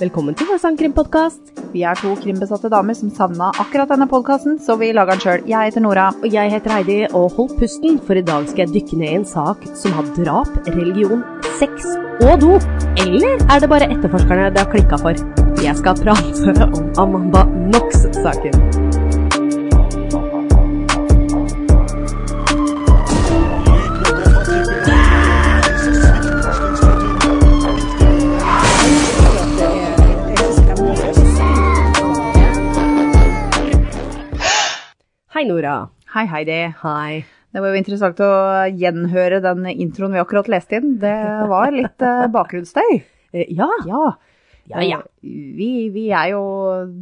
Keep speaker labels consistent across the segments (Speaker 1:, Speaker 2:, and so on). Speaker 1: Velkommen til vår sangkrimpodkast.
Speaker 2: Vi er to krimbesatte damer som savna akkurat denne podkasten, så vi lager den sjøl. Jeg heter Nora.
Speaker 1: Og jeg heter Heidi, og hold pusten, for i dag skal jeg dykke ned i en sak som har drap, religion, sex og do. Eller er det bare etterforskerne det har klikka for? Jeg skal prate om Amanda Knox-saken. Hei, Nora.
Speaker 2: Hei, Heidi.
Speaker 1: Hei.
Speaker 2: Det var jo interessant å gjenhøre den introen vi akkurat leste inn. Det var litt eh, bakgrunnsstøy.
Speaker 1: Eh, Ja.
Speaker 2: Ja. eh,
Speaker 1: Ja, ja.
Speaker 2: Vi, vi er jo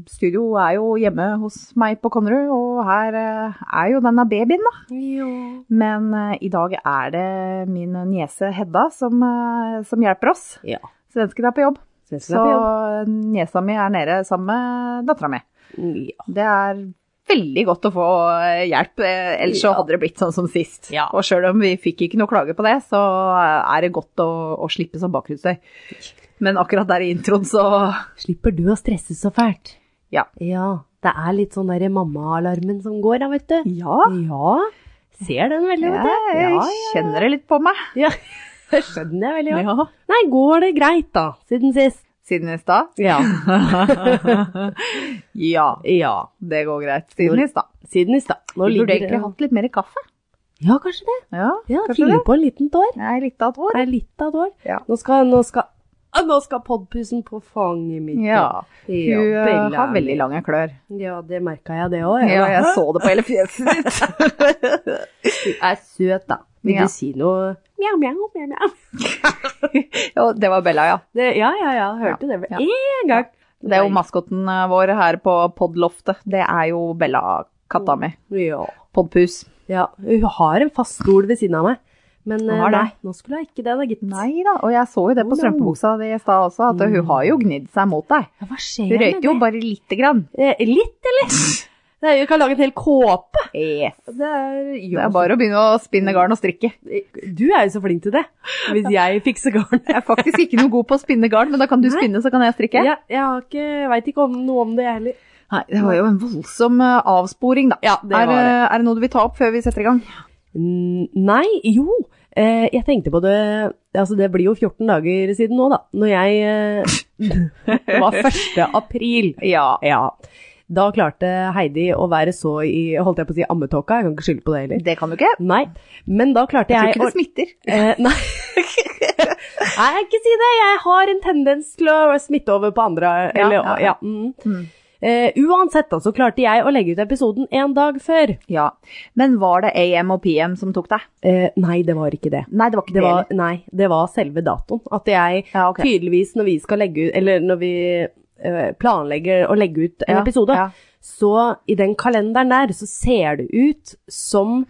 Speaker 2: Studio er jo hjemme hos meg på Konnerud, og her eh, er jo denne babyen, da. Men eh, i dag er det min niese Hedda som, eh, som hjelper oss.
Speaker 1: Ja.
Speaker 2: Svensken er på jobb.
Speaker 1: Svensken
Speaker 2: Så eh,
Speaker 1: er på jobb.
Speaker 2: niesa mi er nede sammen med dattera mi.
Speaker 1: Ja.
Speaker 2: Det er veldig godt å få eh, hjelp, eh, ellers så
Speaker 1: Ja.
Speaker 2: hadde det blitt sånn som sist.
Speaker 1: Ja.
Speaker 2: Og sjøl om vi fikk ikke noe klage på det, så eh, er det godt å, å slippe sånn bakgrunnsstøy. Men akkurat der i introen, så
Speaker 1: Slipper du å stresse så fælt?
Speaker 2: Ja.
Speaker 1: Ja, det er litt sånn derre mamma-alarmen som går da, vet du.
Speaker 2: Ja.
Speaker 1: Ja, ser den veldig,
Speaker 2: Jeg,
Speaker 1: vet du. Ja,
Speaker 2: kjenner det litt på meg.
Speaker 1: ja. Det skjønner jeg veldig godt. Nei, går det greit da, siden sist?
Speaker 2: Siden i stad?
Speaker 1: Ja.
Speaker 2: Ja,
Speaker 1: Ja,
Speaker 2: det går greit. Siden i stad.
Speaker 1: siden i stad. Nå
Speaker 2: Vi
Speaker 1: ligger
Speaker 2: burde
Speaker 1: det-
Speaker 2: egentlig hatt litt mer kaffe.
Speaker 1: Ja, kanskje det.
Speaker 2: Ja,
Speaker 1: Ja,
Speaker 2: Kanskje
Speaker 1: fylle
Speaker 2: det.
Speaker 1: på en liten tår.
Speaker 2: jeg likte at vår.
Speaker 1: Det er litt av et år.
Speaker 2: Ja.
Speaker 1: Nå skal, nå skal, ah, nå skal podpusen på fanget mitt.
Speaker 2: Ja,
Speaker 1: Ja,
Speaker 2: hun eh,
Speaker 1: Bella
Speaker 2: har
Speaker 1: mi.
Speaker 2: veldig lange klør.
Speaker 1: Ja, det merket jeg det også.
Speaker 2: Ja, jeg så det på hele fjeset ditt.
Speaker 1: Du er søt, da. Vil
Speaker 2: Ja.
Speaker 1: du si noe mjau, mjau, mjau, mjau?
Speaker 2: Ja, det var Bella, ja.
Speaker 1: Det, ja, ja, ja. Hørte det med
Speaker 2: Ja.
Speaker 1: en gang.
Speaker 2: Det er jo maskotten eh, vår her på podloftet. Det er jo Bella, katta mi.
Speaker 1: Ja.
Speaker 2: Podpus.
Speaker 1: ja. Hun har en fast stol ved siden av meg. Men
Speaker 2: Hun
Speaker 1: eh,
Speaker 2: har det.
Speaker 1: nei, nå skulle jeg ikke det, da, gitt.
Speaker 2: Nei da, og jeg så jo det
Speaker 1: Oh, no.
Speaker 2: på strømpebuksa di i stad også, at hun har jo gnidd seg mot deg.
Speaker 1: Ja, hva skjer
Speaker 2: Hun røyker jo bare lite grann.
Speaker 1: Eh, litt, eller? Det er jo ikke å lage en hel kåpe.
Speaker 2: Yes. altså.
Speaker 1: Det er, altså, eh,
Speaker 2: Det er bare å begynne å spinne garn og strikke.
Speaker 1: Du er jo så flink til det. Hvis jeg fikser garnet.
Speaker 2: Jeg er faktisk ikke noe god på å spinne garn, men da kan du
Speaker 1: Nei.
Speaker 2: spinne, så kan jeg strikke.
Speaker 1: Ja, jeg har ikke, veit ikke om noe om det, jeg heller.
Speaker 2: Nei, det var jo en voldsom eh, avsporing, da.
Speaker 1: Ja, det
Speaker 2: er,
Speaker 1: var det.
Speaker 2: eh, er det noe du vil ta opp før vi setter i gang?
Speaker 1: Mm, Nei, jo. Eh, jeg tenkte på det Altså, det blir jo 14 dager siden nå, da. Når jeg eh, Det var 1. april.
Speaker 2: Ja.
Speaker 1: Ja. Da klarte Heidi å være så i Holdt jeg på å si ammetåka? Jeg kan ikke skylde på det heller.
Speaker 2: Det kan du ikke.
Speaker 1: Nei. Men da klarte
Speaker 2: Jeg tror
Speaker 1: jeg
Speaker 2: ikke
Speaker 1: å
Speaker 2: det smitter.
Speaker 1: eh, Nei. Nei, ikke si det. Jeg har en tendens til å smitte over på andre.
Speaker 2: Ja,
Speaker 1: Eller,
Speaker 2: ja,
Speaker 1: ja,
Speaker 2: ja.
Speaker 1: mm.
Speaker 2: Mm.
Speaker 1: Eh, uansett, da, så klarte jeg å legge ut episoden en dag før.
Speaker 2: Ja. Men var det AM og PM som tok deg?
Speaker 1: Eh, nei, det var ikke det.
Speaker 2: Nei, det var ikke
Speaker 1: Det
Speaker 2: det.
Speaker 1: var, nei, det var selve datoen. At jeg
Speaker 2: Ja, ok.
Speaker 1: tydeligvis, når vi skal legge ut, eller når vi eh, planlegger å legge ut en
Speaker 2: Ja,
Speaker 1: episode,
Speaker 2: ja.
Speaker 1: så i den kalenderen der, så ser det ut som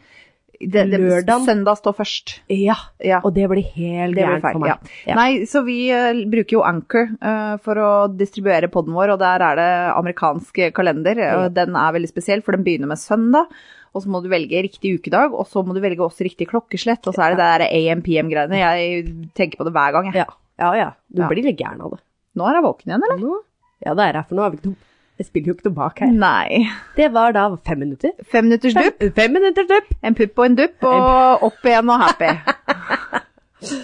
Speaker 2: Det, det,
Speaker 1: Lørdagen.
Speaker 2: Søndag står først.
Speaker 1: Ja.
Speaker 2: Ja.
Speaker 1: Og det blir helt
Speaker 2: Det blir
Speaker 1: gærent
Speaker 2: feil.
Speaker 1: for
Speaker 2: Ja.
Speaker 1: meg. Ja.
Speaker 2: Nei, så vi eh, bruker jo Anchor eh, for å distribuere podden vår, og der er det amerikansk kalender. og
Speaker 1: Ja.
Speaker 2: Den er veldig spesiell, for den begynner med søndag. Og så må du velge riktig ukedag, og så må du velge også riktig klokkeslett. Og så er det det der AM-PM-greiene. Jeg tenker på det hver gang,
Speaker 1: Ja,
Speaker 2: jeg.
Speaker 1: ja. ja. Du
Speaker 2: Ja.
Speaker 1: blir litt gæren av det.
Speaker 2: Nå er jeg våken igjen, eller?
Speaker 1: Nå? Ja, det er jeg, for nå har vi ikke noe Jeg spiller jo ikke tilbake her.
Speaker 2: Nei.
Speaker 1: Det var da fem minutter.
Speaker 2: Fem minutters dupp,
Speaker 1: Fem, fem minutter dupp!
Speaker 2: en pupp og en dupp, og opp igjen og happy.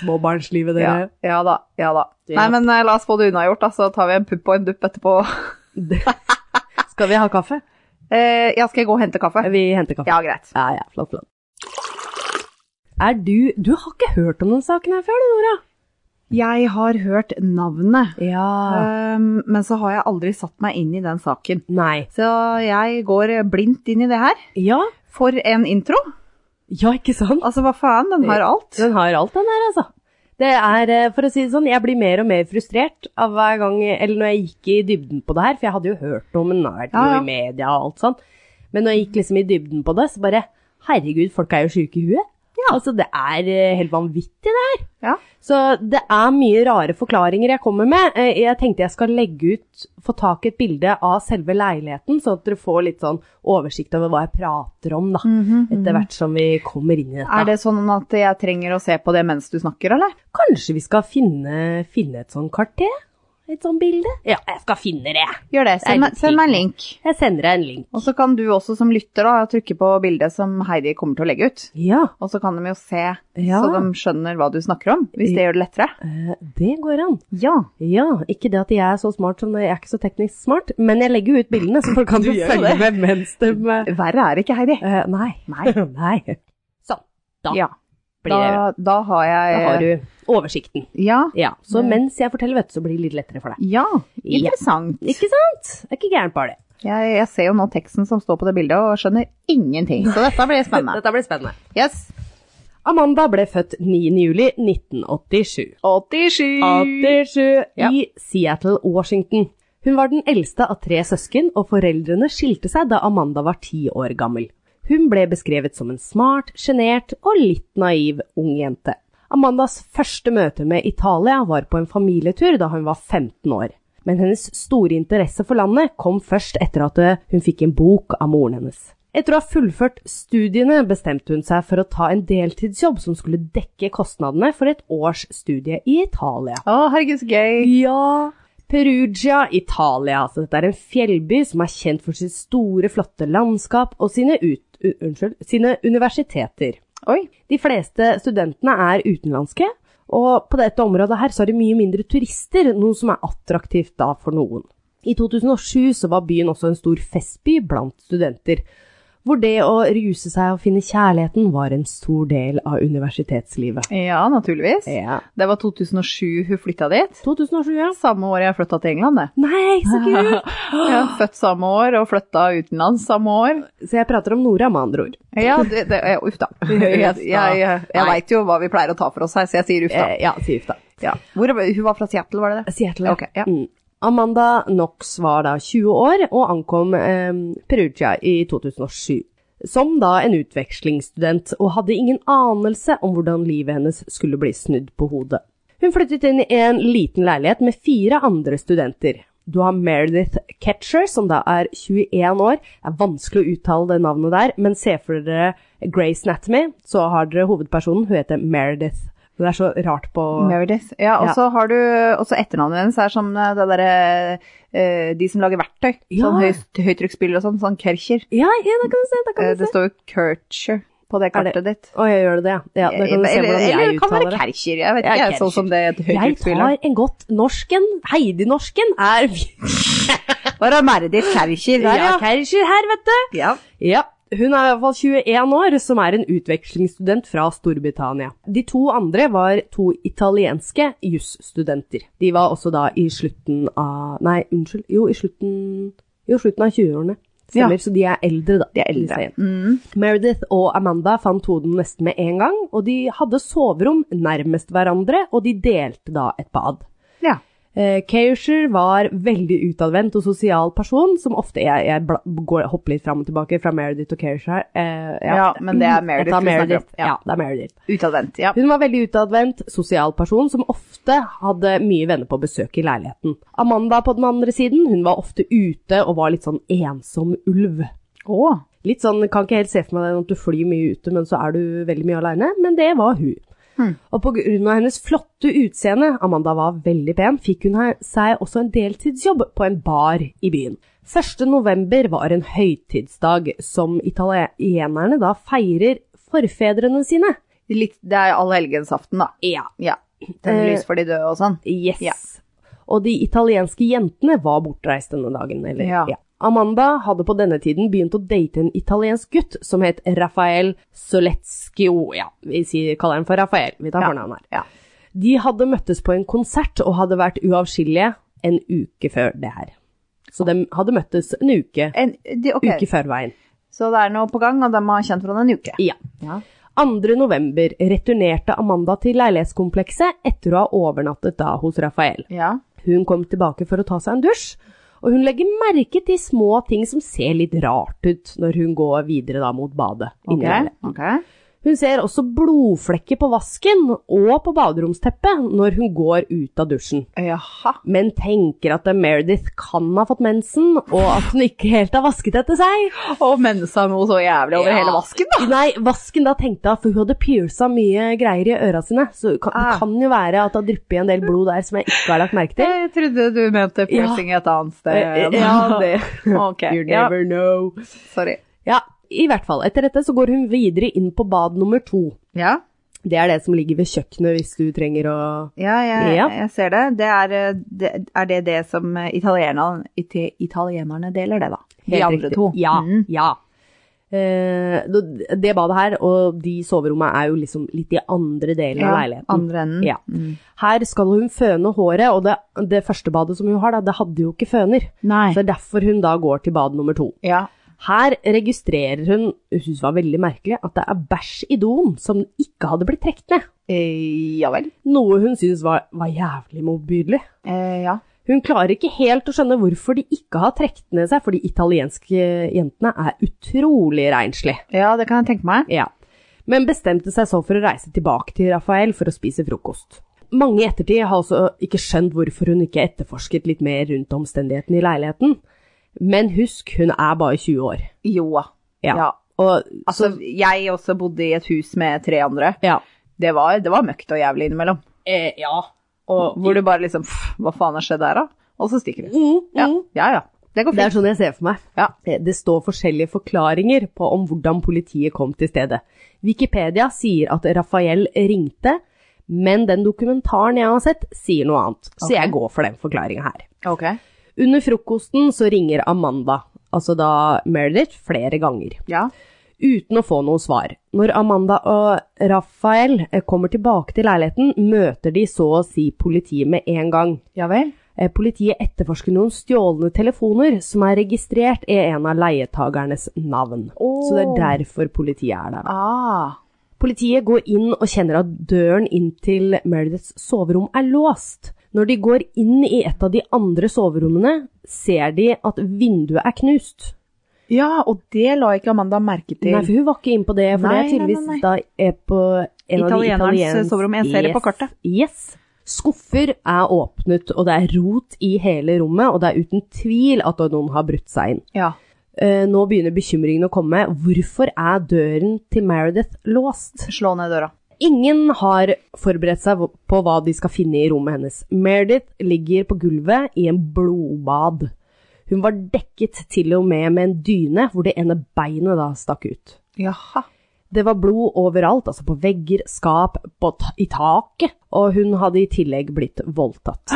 Speaker 1: Småbarnslivet, dere.
Speaker 2: Ja, ja da. Ja da.
Speaker 1: Ja.
Speaker 2: Nei, men eh, la oss få det unnagjort, da, så tar vi en pupp og en dupp etterpå.
Speaker 1: Skal vi ha kaffe?
Speaker 2: Eh, ja, skal jeg gå og hente kaffe?
Speaker 1: Vi henter kaffe.
Speaker 2: Ja, greit.
Speaker 1: Ja, ja, flott, flott. Er du Du har ikke hørt om denne saken her før, du, Nora?
Speaker 2: Jeg har hørt navnet,
Speaker 1: Ja.
Speaker 2: um, men så har jeg aldri satt meg inn i den saken.
Speaker 1: Nei.
Speaker 2: Så jeg går blindt inn i det her.
Speaker 1: Ja?
Speaker 2: For en intro!
Speaker 1: Ja, ikke sant?
Speaker 2: Altså, hva faen, den har alt.
Speaker 1: Den har alt, den her, altså. Det er, eh, for å si det sånn, jeg blir mer og mer frustrert av hver gang, eller når jeg gikk i dybden på det her, for jeg hadde jo hørt om den, og vært
Speaker 2: Ja, ja.
Speaker 1: jo i media og alt sånt. Men når jeg gikk liksom i dybden på det, så bare, herregud, folk er jo syke i huet. Altså, det er eh, helt vanvittig det her.
Speaker 2: Ja.
Speaker 1: Så det er mye rare forklaringer jeg kommer med. Eh, Jeg tenkte jeg skal legge ut, få tak i et bilde av selve leiligheten, sånn at dere får litt sånn oversikt over hva jeg prater om, da. Etter hvert som vi kommer inn i dette.
Speaker 2: Er det sånn at jeg trenger å se på det mens du snakker, eller?
Speaker 1: Kanskje vi skal finne, finne et sånn kart til? Et sånt bilde? Ja, jeg skal finne det.
Speaker 2: Gjør det. Send,
Speaker 1: Det er litt
Speaker 2: meg- send meg en link.
Speaker 1: Jeg sender deg en link.
Speaker 2: Og så kan du også som lytter da, trykke på bildet som Heidi kommer til å legge ut.
Speaker 1: Ja,
Speaker 2: Og så kan de jo se,
Speaker 1: Ja.
Speaker 2: så de skjønner hva du snakker om, hvis det gjør det lettere.
Speaker 1: eh, det går an.
Speaker 2: Ja.
Speaker 1: Ja, ikke det at jeg er så smart som jeg er ikke så teknisk smart, men jeg legger jo ut bildene, så folk kan
Speaker 2: Du
Speaker 1: jo
Speaker 2: gjør jo
Speaker 1: følge
Speaker 2: det.
Speaker 1: med mens de eh,
Speaker 2: Verre er det ikke, Heidi.
Speaker 1: eh, Nei.
Speaker 2: Nei.
Speaker 1: Nei. Sånn. Da
Speaker 2: Ja.
Speaker 1: blir det
Speaker 2: Da, da har jeg
Speaker 1: Da har du oversikten.
Speaker 2: Ja.
Speaker 1: Eh, Ja, Så
Speaker 2: Mm.
Speaker 1: mens jeg forteller, vet du, så blir det litt lettere for deg.
Speaker 2: Ja,
Speaker 1: Ja.
Speaker 2: interessant.
Speaker 1: Ikke sant? Det er ikke gærent bare det.
Speaker 2: Jeg, jeg ser jo nå teksten som står på det bildet, og skjønner ingenting. Så dette blir spennende.
Speaker 1: Dette blir spennende.
Speaker 2: Yes.
Speaker 1: Amanda ble født 9.07.1987.
Speaker 2: 87.
Speaker 1: 87
Speaker 2: Ja.
Speaker 1: i Seattle, Washington. Hun var den eldste av tre søsken, og foreldrene skilte seg da Amanda var ti år gammel. Hun ble beskrevet som en smart, sjenert og litt naiv ung jente. Amandas første møte med Italia var på en familietur da hun var 15 år. Men hennes store interesse for landet kom først etter at eh, hun fikk en bok av moren hennes. Etter å ha fullført studiene bestemte hun seg for å ta en deltidsjobb som skulle dekke kostnadene for et års studie i Italia.
Speaker 2: Å, herregud, så gøy.
Speaker 1: Ja, Perugia, Italia. Altså, dette er en fjellby som er kjent for sitt store, flotte landskap og sine, ut, u- unnskyld, sine universiteter.
Speaker 2: Oi.
Speaker 1: De fleste studentene er utenlandske, og på dette området her så er det mye mindre turister, noe som er attraktivt da for noen. I 2007 så var byen også en stor festby blant studenter, hvor det å ruse seg og finne kjærligheten var en stor del av universitetslivet.
Speaker 2: Ja, naturligvis.
Speaker 1: Ja.
Speaker 2: Det var 2007 hun flytta dit.
Speaker 1: 2007, ja.
Speaker 2: Samme år jeg flytta til England, det.
Speaker 1: Nei, så kult!
Speaker 2: Jeg er født samme år og flytta utenlands samme år.
Speaker 1: Så jeg prater om Nora, med andre ord.
Speaker 2: Ja, det, det, ja, uff da. Jeg, jeg, jeg, jeg
Speaker 1: Nei.
Speaker 2: veit jo hva vi pleier å ta for oss her, så jeg sier uff da.
Speaker 1: Eh, ja, sier gifta.
Speaker 2: Ja. Hvor, hun var fra Seattle, var det det?
Speaker 1: Seattle.
Speaker 2: Ok, ja.
Speaker 1: Mm. Amanda Knox var da 20 år og ankom eh, Perugia i 2007. Som da en utvekslingsstudent, og hadde ingen anelse om hvordan livet hennes skulle bli snudd på hodet. Hun flyttet inn i en liten leilighet med fire andre studenter. Du har Meredith Ketcher, som da er 21 år. Det er vanskelig å uttale det navnet der, men se for dere Grace Anatomy, så har dere hovedpersonen. Hun heter Meredith. Det er så rart på
Speaker 2: Meredith. Ja, og
Speaker 1: Ja.
Speaker 2: så har du også etternavnet hennes er som det derre eh, De som lager verktøy.
Speaker 1: Ja.
Speaker 2: Sånn høy, høytrykksspill og sånn. Sånn Kercher.
Speaker 1: Ja, ja, da kan du se. Da kan
Speaker 2: Eh,
Speaker 1: du
Speaker 2: det
Speaker 1: se.
Speaker 2: står jo Kercher på det
Speaker 1: Er det-
Speaker 2: kartet ditt.
Speaker 1: Å, jeg gjør det, ja. ja da kan du se hvordan
Speaker 2: eller eller
Speaker 1: jeg
Speaker 2: det kan være
Speaker 1: uttaler det.
Speaker 2: Kercher. Jeg vet
Speaker 1: Ja,
Speaker 2: ikke, jeg,
Speaker 1: Kercher.
Speaker 2: sånn som det
Speaker 1: Jeg
Speaker 2: høytrykksspillet.
Speaker 1: tar en godt norsken. Heidi-norsken er
Speaker 2: Bare Meredith Kercher der,
Speaker 1: Ja,
Speaker 2: ja.
Speaker 1: Kercher her, vet du.
Speaker 2: ja.
Speaker 1: Ja. Hun er i hvert fall 21 år, som er en utvekslingsstudent fra Storbritannia. De to andre var to italienske jusstudenter. De var også da i slutten av Nei, unnskyld. Jo, i slutten, jo, slutten av 20-årene. Stemmer,
Speaker 2: Ja.
Speaker 1: så de er eldre, da.
Speaker 2: De er
Speaker 1: disse
Speaker 2: eldre.
Speaker 1: jentene.
Speaker 2: Mm.
Speaker 1: Meredith og Amanda fant hoden nesten med en gang, og de hadde soverom nærmest hverandre, og de delte da et bad.
Speaker 2: Ja.
Speaker 1: Eh, Keisher var veldig utadvendt og sosial person, som ofte Jeg, jeg bla, går, hopper litt fram og tilbake fra Meredith og Keisher her. Eh,
Speaker 2: Ja, men det er Meredith
Speaker 1: Jeg tar
Speaker 2: vi snakker om.
Speaker 1: Meredith.
Speaker 2: Ja.
Speaker 1: Ja, det er Meredith.
Speaker 2: Utadvendt. Ja.
Speaker 1: Hun var veldig utadvendt, sosial person som ofte hadde mye venner på besøk i leiligheten. Amanda på den andre siden, hun var ofte ute og var litt sånn ensom ulv.
Speaker 2: Å.
Speaker 1: Litt sånn, kan ikke helt se for meg den at du flyr mye ute, men så er du veldig mye alene. Men det var hun. Og på grunn av hennes flotte utseende, Amanda var veldig pen, fikk hun her- seg også en deltidsjobb på en bar i byen. 1. november var en høytidsdag som italienerne da feirer forfedrene sine.
Speaker 2: Litt, det er allhelgensaften, da.
Speaker 1: Ja,
Speaker 2: Ja. Tenne
Speaker 1: Eh,
Speaker 2: lys for de døde og sånn.
Speaker 1: Yes.
Speaker 2: Ja.
Speaker 1: Og de italienske jentene var bortreist denne dagen. Eller?
Speaker 2: Ja.
Speaker 1: Amanda hadde på denne tiden begynt å date en italiensk gutt som het Rafael Soletskio. Ja, vi sier, kaller han for Rafael. Vi tar
Speaker 2: Ja.
Speaker 1: fornavnet her.
Speaker 2: Ja.
Speaker 1: De hadde møttes på en konsert og hadde vært uavskillige en uke før det her. Så de hadde møttes en uke,
Speaker 2: En, de, ok.
Speaker 1: uke før veien.
Speaker 2: Så det er noe på gang, og de har kjent hverandre en uke.
Speaker 1: Ja.
Speaker 2: Ja.
Speaker 1: 2. november returnerte Amanda til leilighetskomplekset etter å ha overnattet da hos Rafael.
Speaker 2: Ja.
Speaker 1: Hun kom tilbake for å ta seg en dusj, og hun legger merke til små ting som ser litt rart ut når hun går videre da mot badet.
Speaker 2: Ok.
Speaker 1: inni leiligheten.
Speaker 2: ok.
Speaker 1: Hun ser også blodflekker på vasken og på baderomsteppet når hun går ut av dusjen,
Speaker 2: Jaha.
Speaker 1: men tenker at Meredith kan ha fått mensen, og at hun ikke helt har vasket etter seg.
Speaker 2: Og mensa noe så jævlig over
Speaker 1: Ja.
Speaker 2: hele vasken, da.
Speaker 1: Nei, vasken da tenkte jeg, for hun hadde pierca mye greier i øra sine, så det kan, det
Speaker 2: Ah.
Speaker 1: kan jo være at det har dryppet en del blod der som jeg ikke har lagt merke til.
Speaker 2: Jeg trodde du mente piercing et annet sted.
Speaker 1: Eh, Ja, det-
Speaker 2: Ok. Ja,
Speaker 1: know.
Speaker 2: sorry.
Speaker 1: Ja, i hvert fall. Etter dette så går hun videre inn på bad nummer to.
Speaker 2: Ja,
Speaker 1: Det er det som ligger ved kjøkkenet hvis du trenger å
Speaker 2: ja, jeg,
Speaker 1: Ja.
Speaker 2: jeg ser det. det er eh, det, er det det som eh, italienerne, iti- italienerne deler, det, da? De
Speaker 1: Helt
Speaker 2: andre
Speaker 1: riktig.
Speaker 2: to.
Speaker 1: Ja.
Speaker 2: Mm.
Speaker 1: ja. Eh, det- det badet her og de soverommene er jo liksom litt i andre delen av
Speaker 2: ja.
Speaker 1: leiligheten.
Speaker 2: Andre enden.
Speaker 1: Ja.
Speaker 2: Mm.
Speaker 1: Her skal hun føne håret, og det, det første badet som hun har, da, det hadde jo ikke føner.
Speaker 2: Nei.
Speaker 1: Så det er derfor hun da går til bad nummer to.
Speaker 2: Ja.
Speaker 1: Her registrerer hun, hun synes det var veldig merkelig, at det er bæsj i doen som ikke hadde blitt trekt ned.
Speaker 2: Eh, ja vel.
Speaker 1: Noe hun synes var, var jævlig motbydelig.
Speaker 2: Eh, ja.
Speaker 1: Hun klarer ikke helt å skjønne hvorfor de ikke har trukket ned seg, for de italienske jentene er utrolig renslige.
Speaker 2: ja, det kan jeg tenke meg.
Speaker 1: Ja. Men bestemte seg så for å reise tilbake til Rafael for å spise frokost. Mange i ettertid har altså ikke skjønt hvorfor hun ikke etterforsket litt mer rundt omstendighetene i leiligheten. Men husk, hun er bare 20 år.
Speaker 2: Jo.
Speaker 1: Ja.
Speaker 2: ja.
Speaker 1: Og,
Speaker 2: Altså, jeg også bodde i et hus med tre andre.
Speaker 1: ja.
Speaker 2: Det var, det var møkt og jævlig innimellom.
Speaker 1: Eh, ja.
Speaker 2: Og, hvor du bare liksom pff, Hva faen har skjedd der, da? Og så stikker du.
Speaker 1: Mm,
Speaker 2: Ja,
Speaker 1: mm.
Speaker 2: ja. ja. Mhm. Det går
Speaker 1: Det er
Speaker 2: fint.
Speaker 1: sånn jeg ser for meg.
Speaker 2: Ja.
Speaker 1: Eh, Det står forskjellige forklaringer på om hvordan politiet kom til stedet. Wikipedia sier at Rafael ringte, men den dokumentaren jeg har sett, sier noe annet. Så
Speaker 2: Ok.
Speaker 1: jeg går for den forklaringa her.
Speaker 2: Ok.
Speaker 1: Under frokosten så ringer Amanda, altså da Meredith, flere ganger.
Speaker 2: Ja.
Speaker 1: Uten å få noe svar. Når Amanda og Rafael eh, kommer tilbake til leiligheten, møter de så å si politiet med en gang.
Speaker 2: Ja vel.
Speaker 1: Eh, Politiet etterforsker noen stjålne telefoner som er registrert i en av leietagernes navn.
Speaker 2: Åh.
Speaker 1: Så det er derfor politiet er der. da.
Speaker 2: Ah.
Speaker 1: Politiet går inn og kjenner at døren inn til Merediths soverom er låst. Når de går inn i et av de andre soverommene, ser de at vinduet er knust.
Speaker 2: Ja, og det la ikke Amanda merke til.
Speaker 1: Nei, for hun var ikke inn på det, for
Speaker 2: Nei,
Speaker 1: det er tydeligvis
Speaker 2: nei, nei, nei.
Speaker 1: da er på en av de
Speaker 2: Italienerens
Speaker 1: italienske
Speaker 2: soverom. Jeg ser det på kartet.
Speaker 1: Yes. Skuffer er åpnet, og det er rot i hele rommet, og det er uten tvil at noen har brutt seg inn.
Speaker 2: Ja.
Speaker 1: Eh, nå begynner bekymringen å komme. Hvorfor er døren til Meredith låst?
Speaker 2: Slå ned døra.
Speaker 1: Ingen har forberedt seg på hva de skal finne i rommet hennes. Meredith ligger på gulvet i en blodbad. Hun var dekket til og med med en dyne hvor det ene beinet da stakk ut.
Speaker 2: Jaha.
Speaker 1: Det var blod overalt, altså på vegger, skap, på ta i taket, og hun hadde i tillegg blitt voldtatt.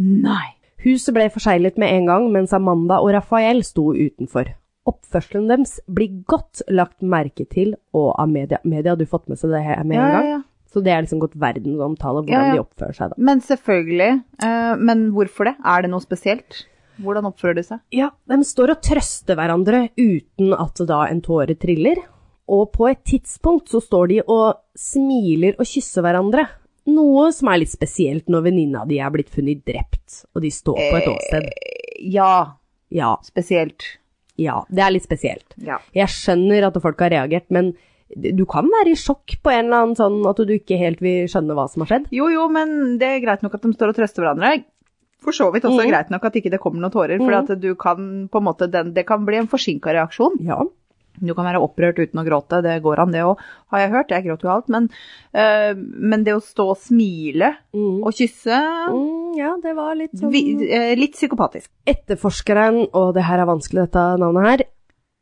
Speaker 2: Nei.
Speaker 1: Huset ble forseglet med en gang, mens Amanda og Rafael sto utenfor. Oppførselen deres blir godt lagt merke til, og av media, media hadde jo fått med seg det her med
Speaker 2: Ja,
Speaker 1: en
Speaker 2: ja,
Speaker 1: gang,
Speaker 2: ja.
Speaker 1: så det er liksom gått verdensomtale hvordan
Speaker 2: Ja, ja.
Speaker 1: de oppfører seg da.
Speaker 2: Men selvfølgelig. eh, men hvorfor det? Er det noe spesielt? Hvordan oppfører de seg?
Speaker 1: Ja, de står og trøster hverandre uten at da en tåre triller. Og på et tidspunkt så står de og smiler og kysser hverandre. Noe som er litt spesielt når venninna di er blitt funnet drept, og de står på et åsted.
Speaker 2: Eh, Ja,
Speaker 1: Ja,
Speaker 2: spesielt.
Speaker 1: ja, det er litt spesielt.
Speaker 2: Ja.
Speaker 1: Jeg skjønner at folk har reagert, men du kan være i sjokk på en eller annen sånn at du ikke helt vil skjønne hva som har skjedd.
Speaker 2: Jo, jo, men det er greit nok at de står og trøster hverandre. For så vidt også
Speaker 1: Mm.
Speaker 2: greit nok at ikke det kommer noen tårer, for at du kan på en måte, den, det kan bli en forsinka reaksjon.
Speaker 1: Ja.
Speaker 2: Du kan være opprørt uten å gråte, det går an det òg, har jeg hørt. Jeg gråter jo alt, men, eh, men det å stå og smile
Speaker 1: Mm.
Speaker 2: og kysse
Speaker 1: Mm, ja, det var litt sånn
Speaker 2: vi, eh, Litt psykopatisk.
Speaker 1: etterforskeren, og det her er vanskelig dette navnet her,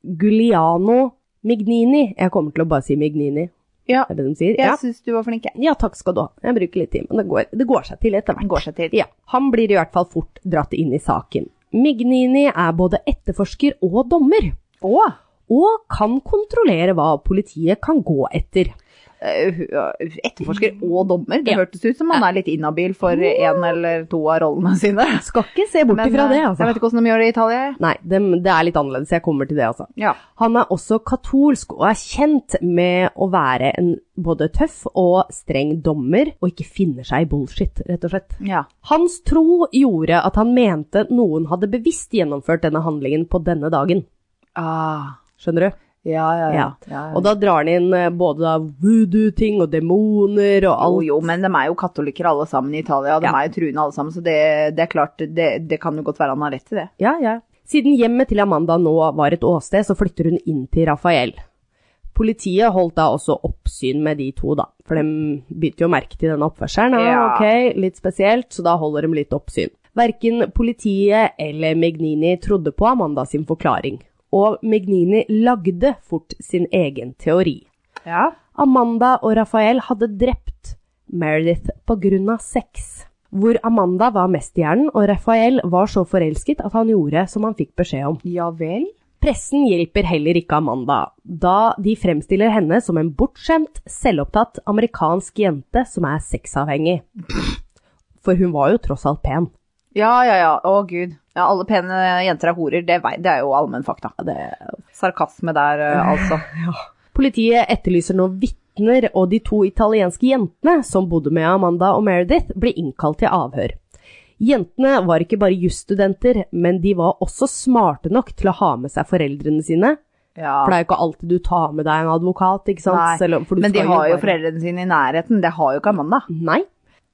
Speaker 1: Giuliano Mignini. Jeg kommer til å bare si Mignini,
Speaker 2: Ja,
Speaker 1: er det de sier?
Speaker 2: jeg
Speaker 1: Ja.
Speaker 2: syns du var flink, jeg.
Speaker 1: ja, takk skal du ha. Jeg bruker litt tid, men det går, det går seg til etter hvert.
Speaker 2: Går seg til.
Speaker 1: Ja, han blir i hvert fall fort dratt inn i saken. Mignini er både etterforsker og dommer,
Speaker 2: Å!
Speaker 1: og kan kontrollere hva politiet kan gå etter.
Speaker 2: Eh, hu- eh, Etterforsker og dommer. Det
Speaker 1: Ja.
Speaker 2: hørtes ut som han er litt inhabil for én eller to av rollene sine.
Speaker 1: Skal ikke se bort
Speaker 2: Men,
Speaker 1: ifra det,
Speaker 2: eh,
Speaker 1: altså.
Speaker 2: Jeg vet ikke hvordan de gjør det i Italia. jeg.
Speaker 1: Nei, dem- det er litt annerledes. Jeg kommer til det, altså.
Speaker 2: Ja.
Speaker 1: Han er også katolsk og er kjent med å være en både tøff og streng dommer, og ikke finner seg i bullshit, rett og slett.
Speaker 2: ja.
Speaker 1: Hans tro gjorde at han mente noen hadde bevisst gjennomført denne handlingen på denne dagen.
Speaker 2: Ah.
Speaker 1: Skjønner du?
Speaker 2: Ja, ja, ja.
Speaker 1: Ja.
Speaker 2: ja.
Speaker 1: Og da drar han inn eh, både da voodoo-ting og demoner og
Speaker 2: jo,
Speaker 1: alt.
Speaker 2: jo, men de er jo katolikker alle sammen i Italia. De
Speaker 1: Ja.
Speaker 2: er jo truende alle sammen, så det, det er klart, det, det kan jo godt være han har rett i det.
Speaker 1: Ja, ja. Siden hjemmet til Amanda nå var et åsted, så flytter hun inn til Rafael. Politiet holdt da også oppsyn med de to, da. For de begynte jo å merke til denne oppførselen. Ja,
Speaker 2: Ja.
Speaker 1: ok, litt spesielt, så da holder de litt oppsyn. Verken politiet eller Megnini trodde på Amanda sin forklaring. Og Megnini lagde fort sin egen teori.
Speaker 2: Ja.
Speaker 1: Amanda og Rafael hadde drept Meredith på grunn av sex. Hvor Amanda var mesterhjernen, og Rafael var så forelsket at han gjorde som han fikk beskjed om.
Speaker 2: Ja vel?
Speaker 1: Pressen hjelper heller ikke Amanda, da de fremstiller henne som en bortskjemt, selvopptatt amerikansk jente som er sexavhengig. For hun var jo tross alt pen.
Speaker 2: Ja, ja, ja. Å, gud. Ja, alle pene jenter er horer. Det, vei- det er jo allmenn fakta. Sarkasme der, eh, altså.
Speaker 1: Politiet etterlyser nå vitner, og de to italienske jentene som bodde med Amanda og Meredith, ble innkalt til avhør. Jentene var ikke bare jusstudenter, men de var også smarte nok til å ha med seg foreldrene sine.
Speaker 2: Ja.
Speaker 1: For det er jo ikke alltid du tar med deg en advokat, ikke sant?
Speaker 2: Nei,
Speaker 1: Selv om- for du
Speaker 2: Men de
Speaker 1: skal
Speaker 2: har jo
Speaker 1: bare-
Speaker 2: foreldrene sine i nærheten. Det har jo ikke Amanda.
Speaker 1: Nei.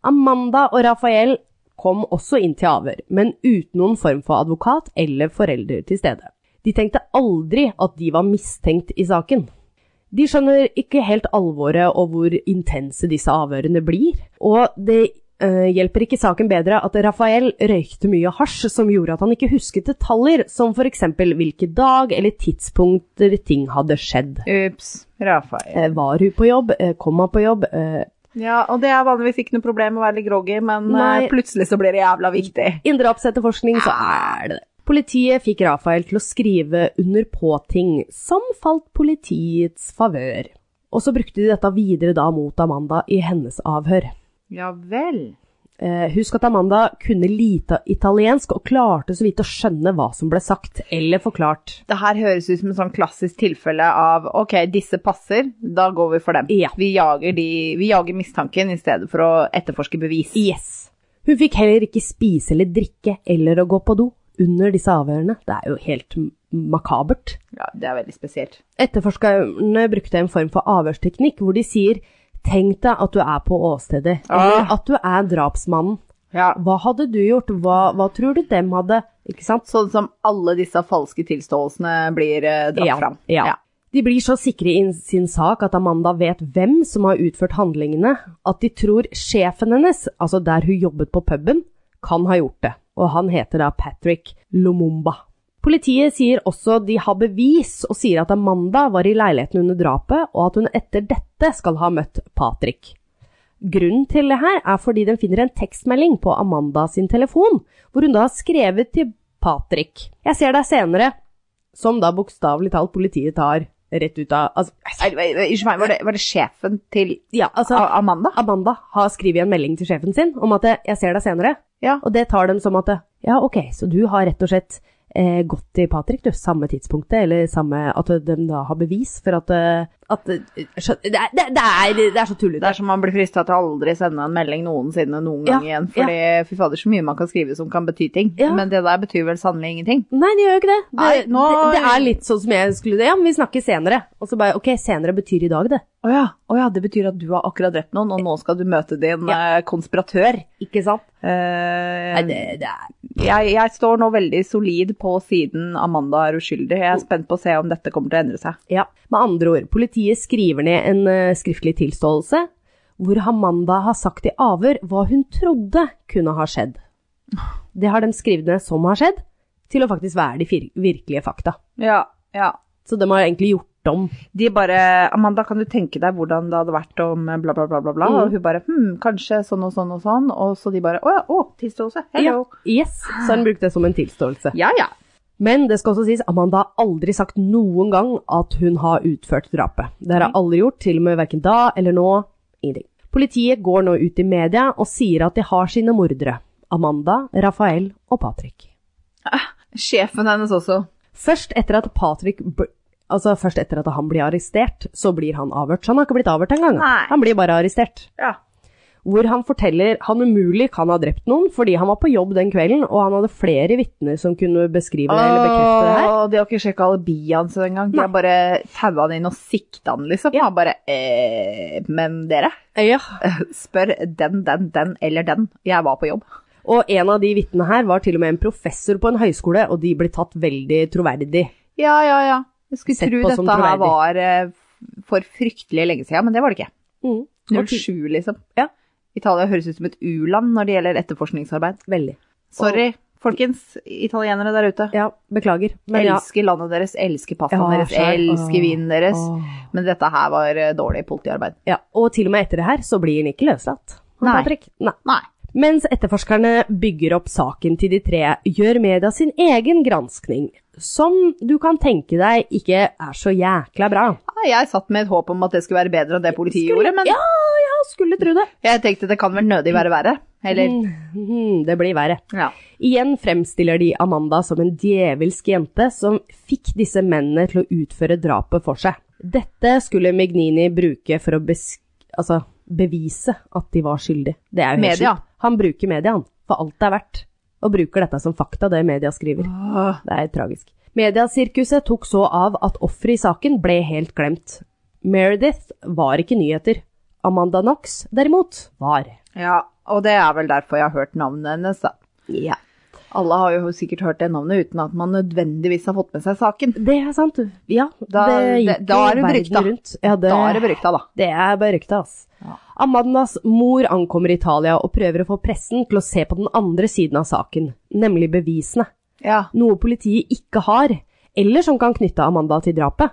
Speaker 1: Amanda og Rafael kom også inn til avhør, men uten noen form for advokat eller forelder til stede. De tenkte aldri at de var mistenkt i saken. De skjønner ikke helt alvoret og hvor intense disse avhørene blir, og det eh, hjelper ikke saken bedre at Rafael røykte mye hasj som gjorde at han ikke husket detaljer, som for eksempel hvilken dag eller tidspunkter ting hadde skjedd.
Speaker 2: Ups. Rafael.
Speaker 1: Eh, Var hun på jobb? Eh, Kom han på jobb? Eh,
Speaker 2: Ja, og det er vanligvis ikke noe problem å være litt groggy, men
Speaker 1: Nei.
Speaker 2: eh, plutselig så blir det jævla viktig.
Speaker 1: Innen drapsetterforskning så er det det. Politiet fikk Rafael til å skrive under på ting som falt politiets favør. Og så brukte de dette videre da mot Amanda i hennes avhør.
Speaker 2: Ja vel.
Speaker 1: Eh, husk at Amanda kunne lite italiensk og klarte så vidt å skjønne hva som ble sagt eller forklart.
Speaker 2: Det her høres ut som et sånn klassisk tilfelle av ok, disse passer, da går vi for dem.
Speaker 1: Ja.
Speaker 2: Vi, jager de, vi jager mistanken i stedet for å etterforske bevis.
Speaker 1: Yes. Hun fikk heller ikke spise eller drikke eller å gå på do under disse avhørene. Det er jo helt m- makabert.
Speaker 2: Ja, det er veldig spesielt.
Speaker 1: Etterforskerne brukte en form for avhørsteknikk hvor de sier Tenk deg at du er på åstedet, eller
Speaker 2: Ah.
Speaker 1: at du er drapsmannen.
Speaker 2: Ja,
Speaker 1: Hva hadde du gjort? Hva, hva tror du dem hadde? Ikke sant?
Speaker 2: Sånn som alle disse falske tilståelsene blir eh, dratt
Speaker 1: Ja,
Speaker 2: fram.
Speaker 1: ja. De blir så sikre i sin sak at Amanda vet hvem som har utført handlingene, at de tror sjefen hennes, altså der hun jobbet på puben, kan ha gjort det. Og han heter da Patrick Lumumba. Politiet sier også de har bevis, og sier at Amanda var i leiligheten under drapet, og at hun etter dette skal ha møtt Patrick. Grunnen til det her er fordi den finner en tekstmelding på Amanda sin telefon, hvor hun da har skrevet til Patrick. Jeg ser deg senere, som da bokstavelig talt politiet tar rett ut av altså,
Speaker 2: Nei, nei, Unnskyld meg, var det, var det sjefen til
Speaker 1: Ja, altså
Speaker 2: A- Amanda?
Speaker 1: Amanda har skrevet en melding til sjefen sin om at 'jeg ser deg senere',
Speaker 2: Ja.
Speaker 1: og det tar dem som at 'ja, ok, så du har rett og slett eh, gått til Patrick, du, samme tidspunktet', eller samme At de da har bevis for at, eh, at eh, skjøn- det, er, det, det, er, det er så
Speaker 2: Det
Speaker 1: tullete.
Speaker 2: er som man blir frista til å aldri sende en melding noensinne noen
Speaker 1: Ja,
Speaker 2: gang igjen. Fordi fy fader, så mye man kan skrive som kan bety ting.
Speaker 1: Ja.
Speaker 2: Men det der betyr vel sannelig ingenting.
Speaker 1: Nei, det gjør jo ikke det. Det,
Speaker 2: Nei,
Speaker 1: det.
Speaker 2: nå-
Speaker 1: det er litt sånn som jeg skulle Ja, men vi snakker senere. Og så bare Ok, senere betyr i dag, det.
Speaker 2: Å ja, å ja, det betyr at du har akkurat drept noen, og nå skal du møte din eh, konspiratør.
Speaker 1: Ikke sant? Um,
Speaker 2: Eh,
Speaker 1: Nei, det, det er
Speaker 2: jeg, jeg står nå veldig solid på siden Amanda er uskyldig. Jeg er spent på å se om dette kommer til å endre seg.
Speaker 1: Ja, med andre ord, politiet skriver ned en eh, skriftlig tilståelse hvor Amanda har sagt i avhør hva hun trodde kunne ha skjedd. Det har de skrevet ned som har skjedd, til å faktisk være de fir- virkelige fakta.
Speaker 2: Ja, ja.
Speaker 1: Så de har egentlig gjort om.
Speaker 2: De bare 'Amanda, kan du tenke deg hvordan det hadde vært om eh, bla, bla, bla, bla, bla?'
Speaker 1: Mm.
Speaker 2: Og hun bare 'Hm, kanskje sånn og sånn og sånn', og så de bare 'Å ja, å, tilståelse. Hello'.
Speaker 1: Ja, yes, så har de brukt det som en tilståelse.
Speaker 2: Ja, ja.
Speaker 1: Men det skal også sies, Amanda har aldri sagt noen gang at hun har utført drapet. Det har
Speaker 2: Mm.
Speaker 1: hun aldri gjort, til og med hverken da eller nå. Ingenting. Politiet går nå ut i media og sier at de har sine mordere. Amanda, Rafael og Patrick.
Speaker 2: Sjefen hennes også.
Speaker 1: Først etter at Patrick bl- Altså, først etter at han blir arrestert, så blir han avhørt. Så han har ikke blitt avhørt engang.
Speaker 2: Nei.
Speaker 1: Han blir bare arrestert.
Speaker 2: Ja.
Speaker 1: hvor han forteller han umulig kan ha drept noen fordi han var på jobb den kvelden, og han hadde flere vitner som kunne beskrive det eller bekrefte det her.
Speaker 2: Åh, de har ikke sjekka alibiet hans engang. De har bare taua han inn og sikta han, liksom. Han bare eh, Men dere,
Speaker 1: Ja.
Speaker 2: spør den, den, den eller den. Jeg var på jobb.
Speaker 1: Og en av de vitnene her var til og med en professor på en høyskole, og de ble tatt veldig troverdig.
Speaker 2: Ja, ja, ja. Jeg skulle
Speaker 1: Sett
Speaker 2: tro
Speaker 1: på
Speaker 2: dette
Speaker 1: som
Speaker 2: her
Speaker 1: troverdig.
Speaker 2: var eh, for fryktelig lenge siden, men det var det ikke.
Speaker 1: Og ti-
Speaker 2: 07, liksom.
Speaker 1: Ja.
Speaker 2: Italia høres ut som et u-land når det gjelder etterforskningsarbeid.
Speaker 1: Veldig.
Speaker 2: Sorry, folkens italienere der ute.
Speaker 1: Ja, beklager. Men ja.
Speaker 2: elsker landet deres, elsker pastaen
Speaker 1: Ja,
Speaker 2: deres,
Speaker 1: skjønner.
Speaker 2: elsker
Speaker 1: Åh,
Speaker 2: vinen deres.
Speaker 1: Åh.
Speaker 2: Men dette her var eh, dårlig politiarbeid.
Speaker 1: ja. Og til og med etter det her så blir han ikke løslatt. Han
Speaker 2: Nei.
Speaker 1: Patrick. Nei.
Speaker 2: Nei.
Speaker 1: Mens etterforskerne bygger opp saken til de tre, gjør media sin egen granskning, som du kan tenke deg ikke er så jækla bra.
Speaker 2: Nei, Ah, Jeg satt med et håp om at det skulle være bedre enn det politiet gjorde, men
Speaker 1: Ja, ja, skulle tro det.
Speaker 2: jeg tenkte det kan vel nødig være verre. Eller
Speaker 1: Mhm, Det blir verre.
Speaker 2: ja.
Speaker 1: Igjen fremstiller de Amanda som en djevelsk jente som fikk disse mennene til å utføre drapet for seg. Dette skulle Mignini bruke for å besk altså, bevise at de var skyldige. Det er jo helt
Speaker 2: Media.
Speaker 1: sjukt. Han bruker media, han, for alt det er verdt, og bruker dette som fakta, det media skriver.
Speaker 2: Åh,
Speaker 1: Det er tragisk. Mediasirkuset tok så av at offeret i saken ble helt glemt. Meredith var ikke nyheter. Amanda Knox, derimot, var.
Speaker 2: ja. Og det er vel derfor jeg har hørt navnet hennes, da.
Speaker 1: Ja.
Speaker 2: Alle har jo sikkert hørt det navnet uten at man nødvendigvis har fått med seg saken.
Speaker 1: Det er sant, du. Ja,
Speaker 2: Da-
Speaker 1: det gikk
Speaker 2: det- da
Speaker 1: jo
Speaker 2: er du
Speaker 1: verden
Speaker 2: brukt, da.
Speaker 1: rundt. Ja, det,
Speaker 2: Da er det berykta, da.
Speaker 1: det er berykta, ass.
Speaker 2: Ja.
Speaker 1: Amandas mor ankommer Italia og prøver å få pressen til å se på den andre siden av saken, nemlig bevisene.
Speaker 2: Ja.
Speaker 1: Noe politiet ikke har, eller som kan knytte Amanda til drapet.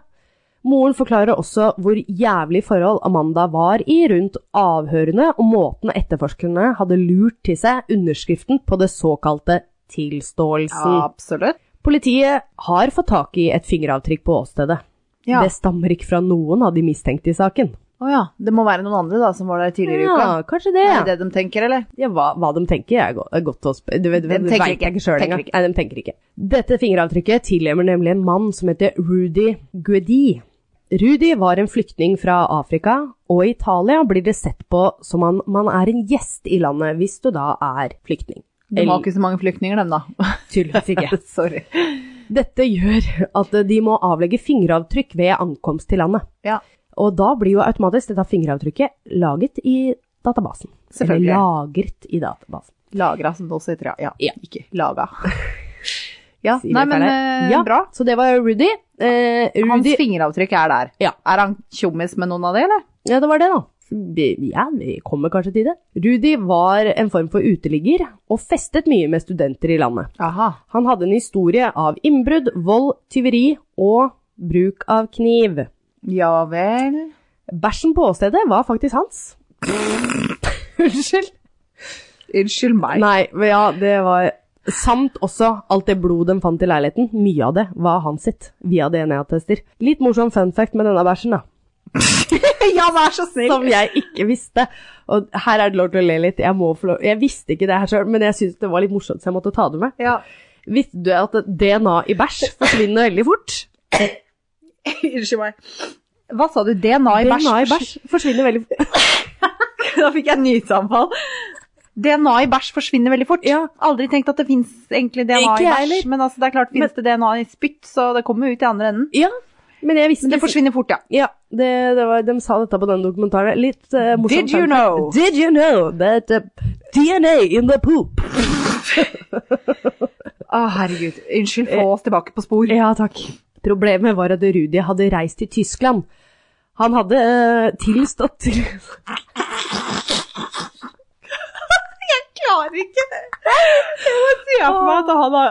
Speaker 1: Moren forklarer også hvor jævlig forhold Amanda var i rundt avhørene og måten etterforskerne hadde lurt til seg underskriften på det såkalte tilståelsen.
Speaker 2: Absolutt.
Speaker 1: Politiet har fått tak i et fingeravtrykk på åstedet.
Speaker 2: Ja.
Speaker 1: Det stammer ikke fra noen av de mistenkte i saken.
Speaker 2: Å ja. Det må være noen andre da som var der tidligere i uka.
Speaker 1: Ja, kanskje det.
Speaker 2: Er det det de tenker, eller?
Speaker 1: Ja, hva, hva de tenker er go- er godt å sp- Du vet,
Speaker 2: De
Speaker 1: det
Speaker 2: tenker
Speaker 1: vet
Speaker 2: ikke.
Speaker 1: jeg ikke sjøl
Speaker 2: Tenker
Speaker 1: engang.
Speaker 2: ikke.
Speaker 1: Nei, de tenker ikke. Dette fingeravtrykket tilhører nemlig en mann som heter Rudy Guedi. Rudy var en flyktning fra Afrika, og i Italia blir det sett på som om man er en gjest i landet, hvis du da er flyktning.
Speaker 2: De har ikke så mange flyktninger, dem da.
Speaker 1: Tydeligvis ikke.
Speaker 2: Sorry.
Speaker 1: Dette gjør at de må avlegge fingeravtrykk ved ankomst til landet.
Speaker 2: Ja.
Speaker 1: Og da blir jo automatisk dette fingeravtrykket laget i databasen.
Speaker 2: Selvfølgelig.
Speaker 1: Eller lagret i databasen.
Speaker 2: Lagra, som det også heter. Ja.
Speaker 1: Ja.
Speaker 2: Ikke laga. Ja,
Speaker 1: Sier
Speaker 2: nei,
Speaker 1: jeg
Speaker 2: men
Speaker 1: feil her?
Speaker 2: eh,
Speaker 1: ja,
Speaker 2: bra.
Speaker 1: Så det var Rudy. Eh,
Speaker 2: Hans
Speaker 1: Rudy
Speaker 2: fingeravtrykk er der.
Speaker 1: Ja.
Speaker 2: Er han tjommis med noen av de, eller?
Speaker 1: Ja, det var det, da. Vi- Ja, vi kommer kanskje til det. Rudy var en form for uteligger, og festet mye med studenter i landet.
Speaker 2: Aha.
Speaker 1: Han hadde en historie av innbrudd, vold, tyveri og bruk av kniv.
Speaker 2: Ja vel.
Speaker 1: Bæsjen på åstedet var faktisk hans. Unnskyld.
Speaker 2: Unnskyld meg.
Speaker 1: Nei, men ja, det var Samt også alt det blodet de fant i leiligheten. Mye av det var hans sitt, via DNA-tester. Litt morsom fun fact med denne bæsjen, da.
Speaker 2: ja, vær så snill.
Speaker 1: Som jeg ikke visste. Og her er det lov til å le litt. Jeg, må få lov. jeg visste ikke det her sjøl, men jeg syntes det var litt morsomt, så jeg måtte ta det med.
Speaker 2: Ja.
Speaker 1: Visste du at DNA i bæsj forsvinner veldig fort?
Speaker 2: Unnskyld meg. Hva sa du? DNA i bæsj?
Speaker 1: DNA i bæsj forsvinner veldig fort.
Speaker 2: Da fikk jeg nysamfall. DNA i bæsj forsvinner veldig fort.
Speaker 1: Ja.
Speaker 2: Aldri tenkt at det fins egentlig DNA
Speaker 1: Ikke
Speaker 2: i
Speaker 1: jeg
Speaker 2: bæsj.
Speaker 1: heller.
Speaker 2: Men altså, det er klart fins det DNA i spytt, så det kommer jo ut i andre enden.
Speaker 1: Ja, men jeg visste
Speaker 2: Men det forsvinner fort, ja.
Speaker 1: Ja, det, det var, de sa dette på den dokumentaren. Litt eh, morsomt.
Speaker 2: Did you
Speaker 1: fun fact.
Speaker 2: know?
Speaker 1: Did you know that eh, DNA in the poop?
Speaker 2: Å, herregud. Unnskyld, få oss tilbake på spor.
Speaker 1: Ja, takk. Problemet var at Rudi hadde reist til Tyskland. Han hadde eh, tilstått til
Speaker 2: Jeg klarer ikke det. Jeg må se for meg at han har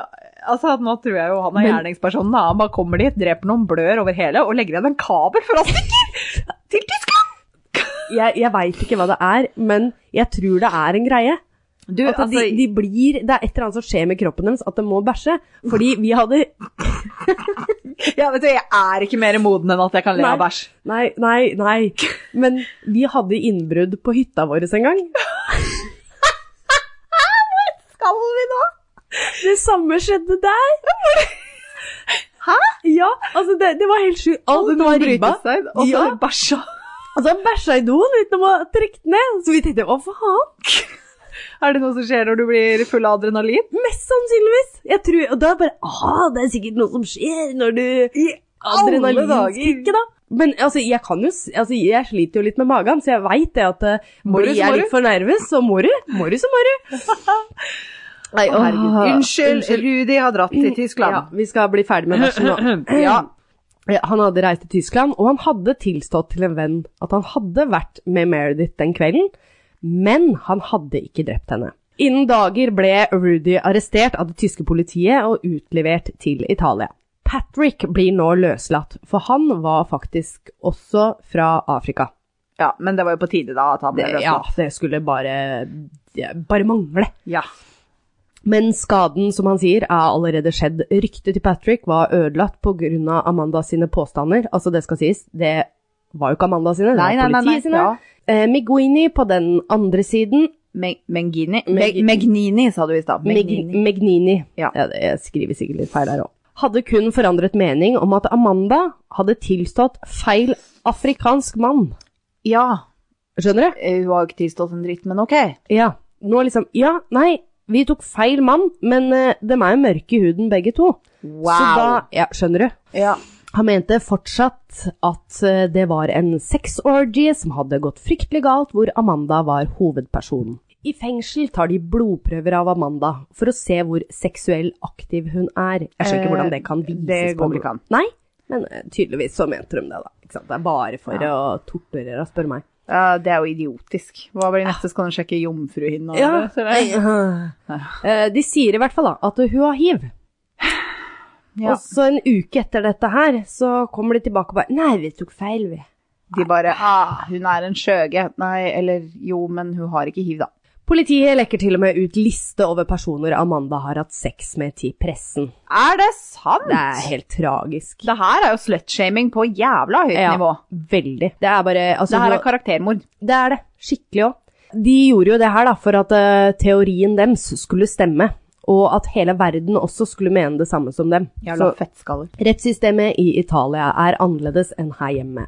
Speaker 2: Altså, Nå tror jeg jo han er
Speaker 1: Men-
Speaker 2: gjerningspersonen. da. Han bare kommer dit, dreper noen, blør over hele og legger igjen en kabel før han stikker til Tyskland.
Speaker 1: Jeg, jeg veit ikke hva det er, men jeg tror det er en greie.
Speaker 2: Du, altså,
Speaker 1: At de, de blir, Det er et eller annet som skjer med kroppen deres, at de må bæsje. Fordi vi hadde
Speaker 2: ja, vet du, Jeg er ikke mer moden enn at jeg kan le av
Speaker 1: Nei.
Speaker 2: bæsj.
Speaker 1: Nei, nei, nei. Men vi hadde innbrudd på hytta vår en gang.
Speaker 2: Skal vi nå?
Speaker 1: Det samme skjedde der. Hæ? Ja, altså det, det var helt sjukt. Alt
Speaker 2: Hadde noen
Speaker 1: var ribba.
Speaker 2: brytet seg, og så
Speaker 1: Ja.
Speaker 2: bæsja.
Speaker 1: Altså, han bæsja i doen uten å trekke den ned, så vi tenkte hva faen?
Speaker 2: Er det noe som skjer når du blir full av adrenalin?
Speaker 1: Mest sannsynligvis. Jeg tror, og da bare ah, det er sikkert noe som skjer når du Adrenalinskikket, da. Men altså, jeg kan jo s- altså, Jeg sliter jo litt med magen, så jeg veit det at eh,
Speaker 2: Må du,
Speaker 1: blir
Speaker 2: så må
Speaker 1: jeg
Speaker 2: du.
Speaker 1: litt for nervøs, så må du. Må du, så må du. Nei, å, herregud.
Speaker 2: Unnskyld, Rudi har dratt til
Speaker 1: Ja,
Speaker 2: Tyskland.
Speaker 1: vi skal bli ferdig med bæsjen nå.
Speaker 2: Ja.
Speaker 1: Eh, Han hadde reist til Tyskland, og han hadde tilstått til en venn at han hadde vært med Meredith den kvelden, men han hadde ikke drept henne. Innen dager ble Rudy arrestert av det tyske politiet og utlevert til Italia. Patrick blir nå løslatt, for han var faktisk også fra Afrika.
Speaker 2: ja, men det var jo på tide da at han ble
Speaker 1: Det, ja,
Speaker 2: løslatt.
Speaker 1: det skulle bare, det bare mangle.
Speaker 2: Ja.
Speaker 1: Men skaden, som han sier, er allerede skjedd. Ryktet til Patrick var ødelagt pga. Amanda sine påstander. Altså, det skal sies, det var jo ikke Amanda sine, det
Speaker 2: Nei, nei,
Speaker 1: var
Speaker 2: nei.
Speaker 1: politiet
Speaker 2: nei.
Speaker 1: sine.
Speaker 2: Ja.
Speaker 1: Eh, Miguini på den andre siden,
Speaker 2: Me- Mengini?
Speaker 1: Meg-
Speaker 2: Meg- Megnini, sa du i stad.
Speaker 1: Meg-
Speaker 2: Megnini.
Speaker 1: Megnini.
Speaker 2: Ja.
Speaker 1: det- jeg skriver sikkert litt feil her òg. Hadde kun forandret mening om at Amanda hadde tilstått feil afrikansk mann.
Speaker 2: Ja. Eh,
Speaker 1: Skjønner du?
Speaker 2: Hun har jo ikke tilstått en dritt, men ok.
Speaker 1: Ja. Nå liksom Ja, nei, vi tok feil mann, men eh, dem er jo mørke i huden begge to. Så da Ja, skjønner du?
Speaker 2: ja.
Speaker 1: Han mente fortsatt at eh, det var en sexorgie som hadde gått fryktelig galt, hvor Amanda var hovedpersonen. I fengsel tar de blodprøver av Amanda for å se hvor seksuell aktiv hun er. Jeg skjønner
Speaker 2: Eh,
Speaker 1: ikke hvordan det kan vises.
Speaker 2: det
Speaker 1: på
Speaker 2: går vel ikke
Speaker 1: blod.
Speaker 2: an.
Speaker 1: Nei, men eh, tydeligvis så mente de det, da. Ikke sant? Det er bare for å torturere, spør meg.
Speaker 2: Ja, det er jo idiotisk. Hva blir neste? Skal han sjekke jomfruhinna? eller? Så det-
Speaker 1: Nei. Eh, De sier i hvert fall da at hun har hiv.
Speaker 2: Ja.
Speaker 1: Og så en uke etter dette her, så kommer de tilbake og bare Nei, vi tok feil, vi.
Speaker 2: De bare ah, 'Hun er en skjøge'. Nei, eller jo, men hun har ikke hiv, da.
Speaker 1: Politiet lekker til og med ut liste over personer Amanda har hatt sex med til pressen.
Speaker 2: Er det sant?!
Speaker 1: Det er helt tragisk.
Speaker 2: Det her er jo slutshaming på jævla høyt
Speaker 1: Ja,
Speaker 2: nivå.
Speaker 1: veldig. Det er bare altså,
Speaker 2: Det her er
Speaker 1: nå-
Speaker 2: karaktermord.
Speaker 1: det, er det. Skikkelig òg. De gjorde jo det her da, for at eh, teorien deres skulle stemme, og at hele verden også skulle mene det samme som dem.
Speaker 2: Jævla fettskaller.
Speaker 1: Rettssystemet i Italia er annerledes enn her hjemme.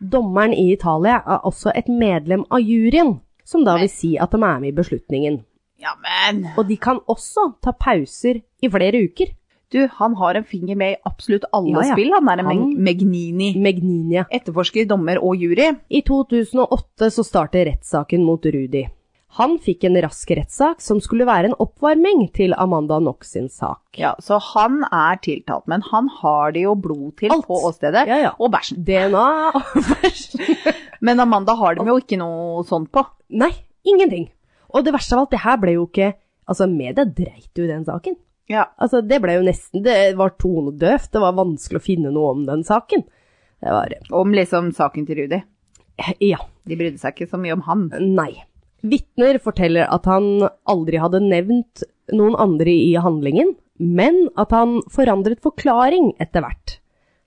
Speaker 1: Dommeren i Italia er også et medlem av juryen, som da vil si at de er med i beslutningen.
Speaker 2: Ja, men
Speaker 1: Og de kan også ta pauser i flere uker.
Speaker 2: Du, han har en finger med i absolutt alle
Speaker 1: Ja, ja.
Speaker 2: spill, han der
Speaker 1: Han-
Speaker 2: Meg- Megnini.
Speaker 1: Megninia.
Speaker 2: Etterforsker, dommer og jury.
Speaker 1: I 2008 så starter rettssaken mot Rudi. Han fikk en rask rettssak som skulle være en oppvarming til Amanda Knox sin sak.
Speaker 2: Ja, Så han er tiltalt, men han har det jo blod til
Speaker 1: Alt.
Speaker 2: på åstedet.
Speaker 1: Ja, ja.
Speaker 2: Og bæsjen.
Speaker 1: DNA
Speaker 2: Men Amanda har dem jo ikke noe sånt på.
Speaker 1: Nei, ingenting. Og det verste av alt, det her ble jo ikke Altså, media dreit jo i den saken.
Speaker 2: Ja.
Speaker 1: Altså, det ble jo nesten Det var tonedøvt, det var vanskelig å finne noe om den saken. Det var
Speaker 2: Om liksom saken til Rudi.
Speaker 1: Ja.
Speaker 2: De brydde seg ikke så mye om han.
Speaker 1: Nei. Vitner forteller at han aldri hadde nevnt noen andre i handlingen, men at han forandret forklaring etter hvert.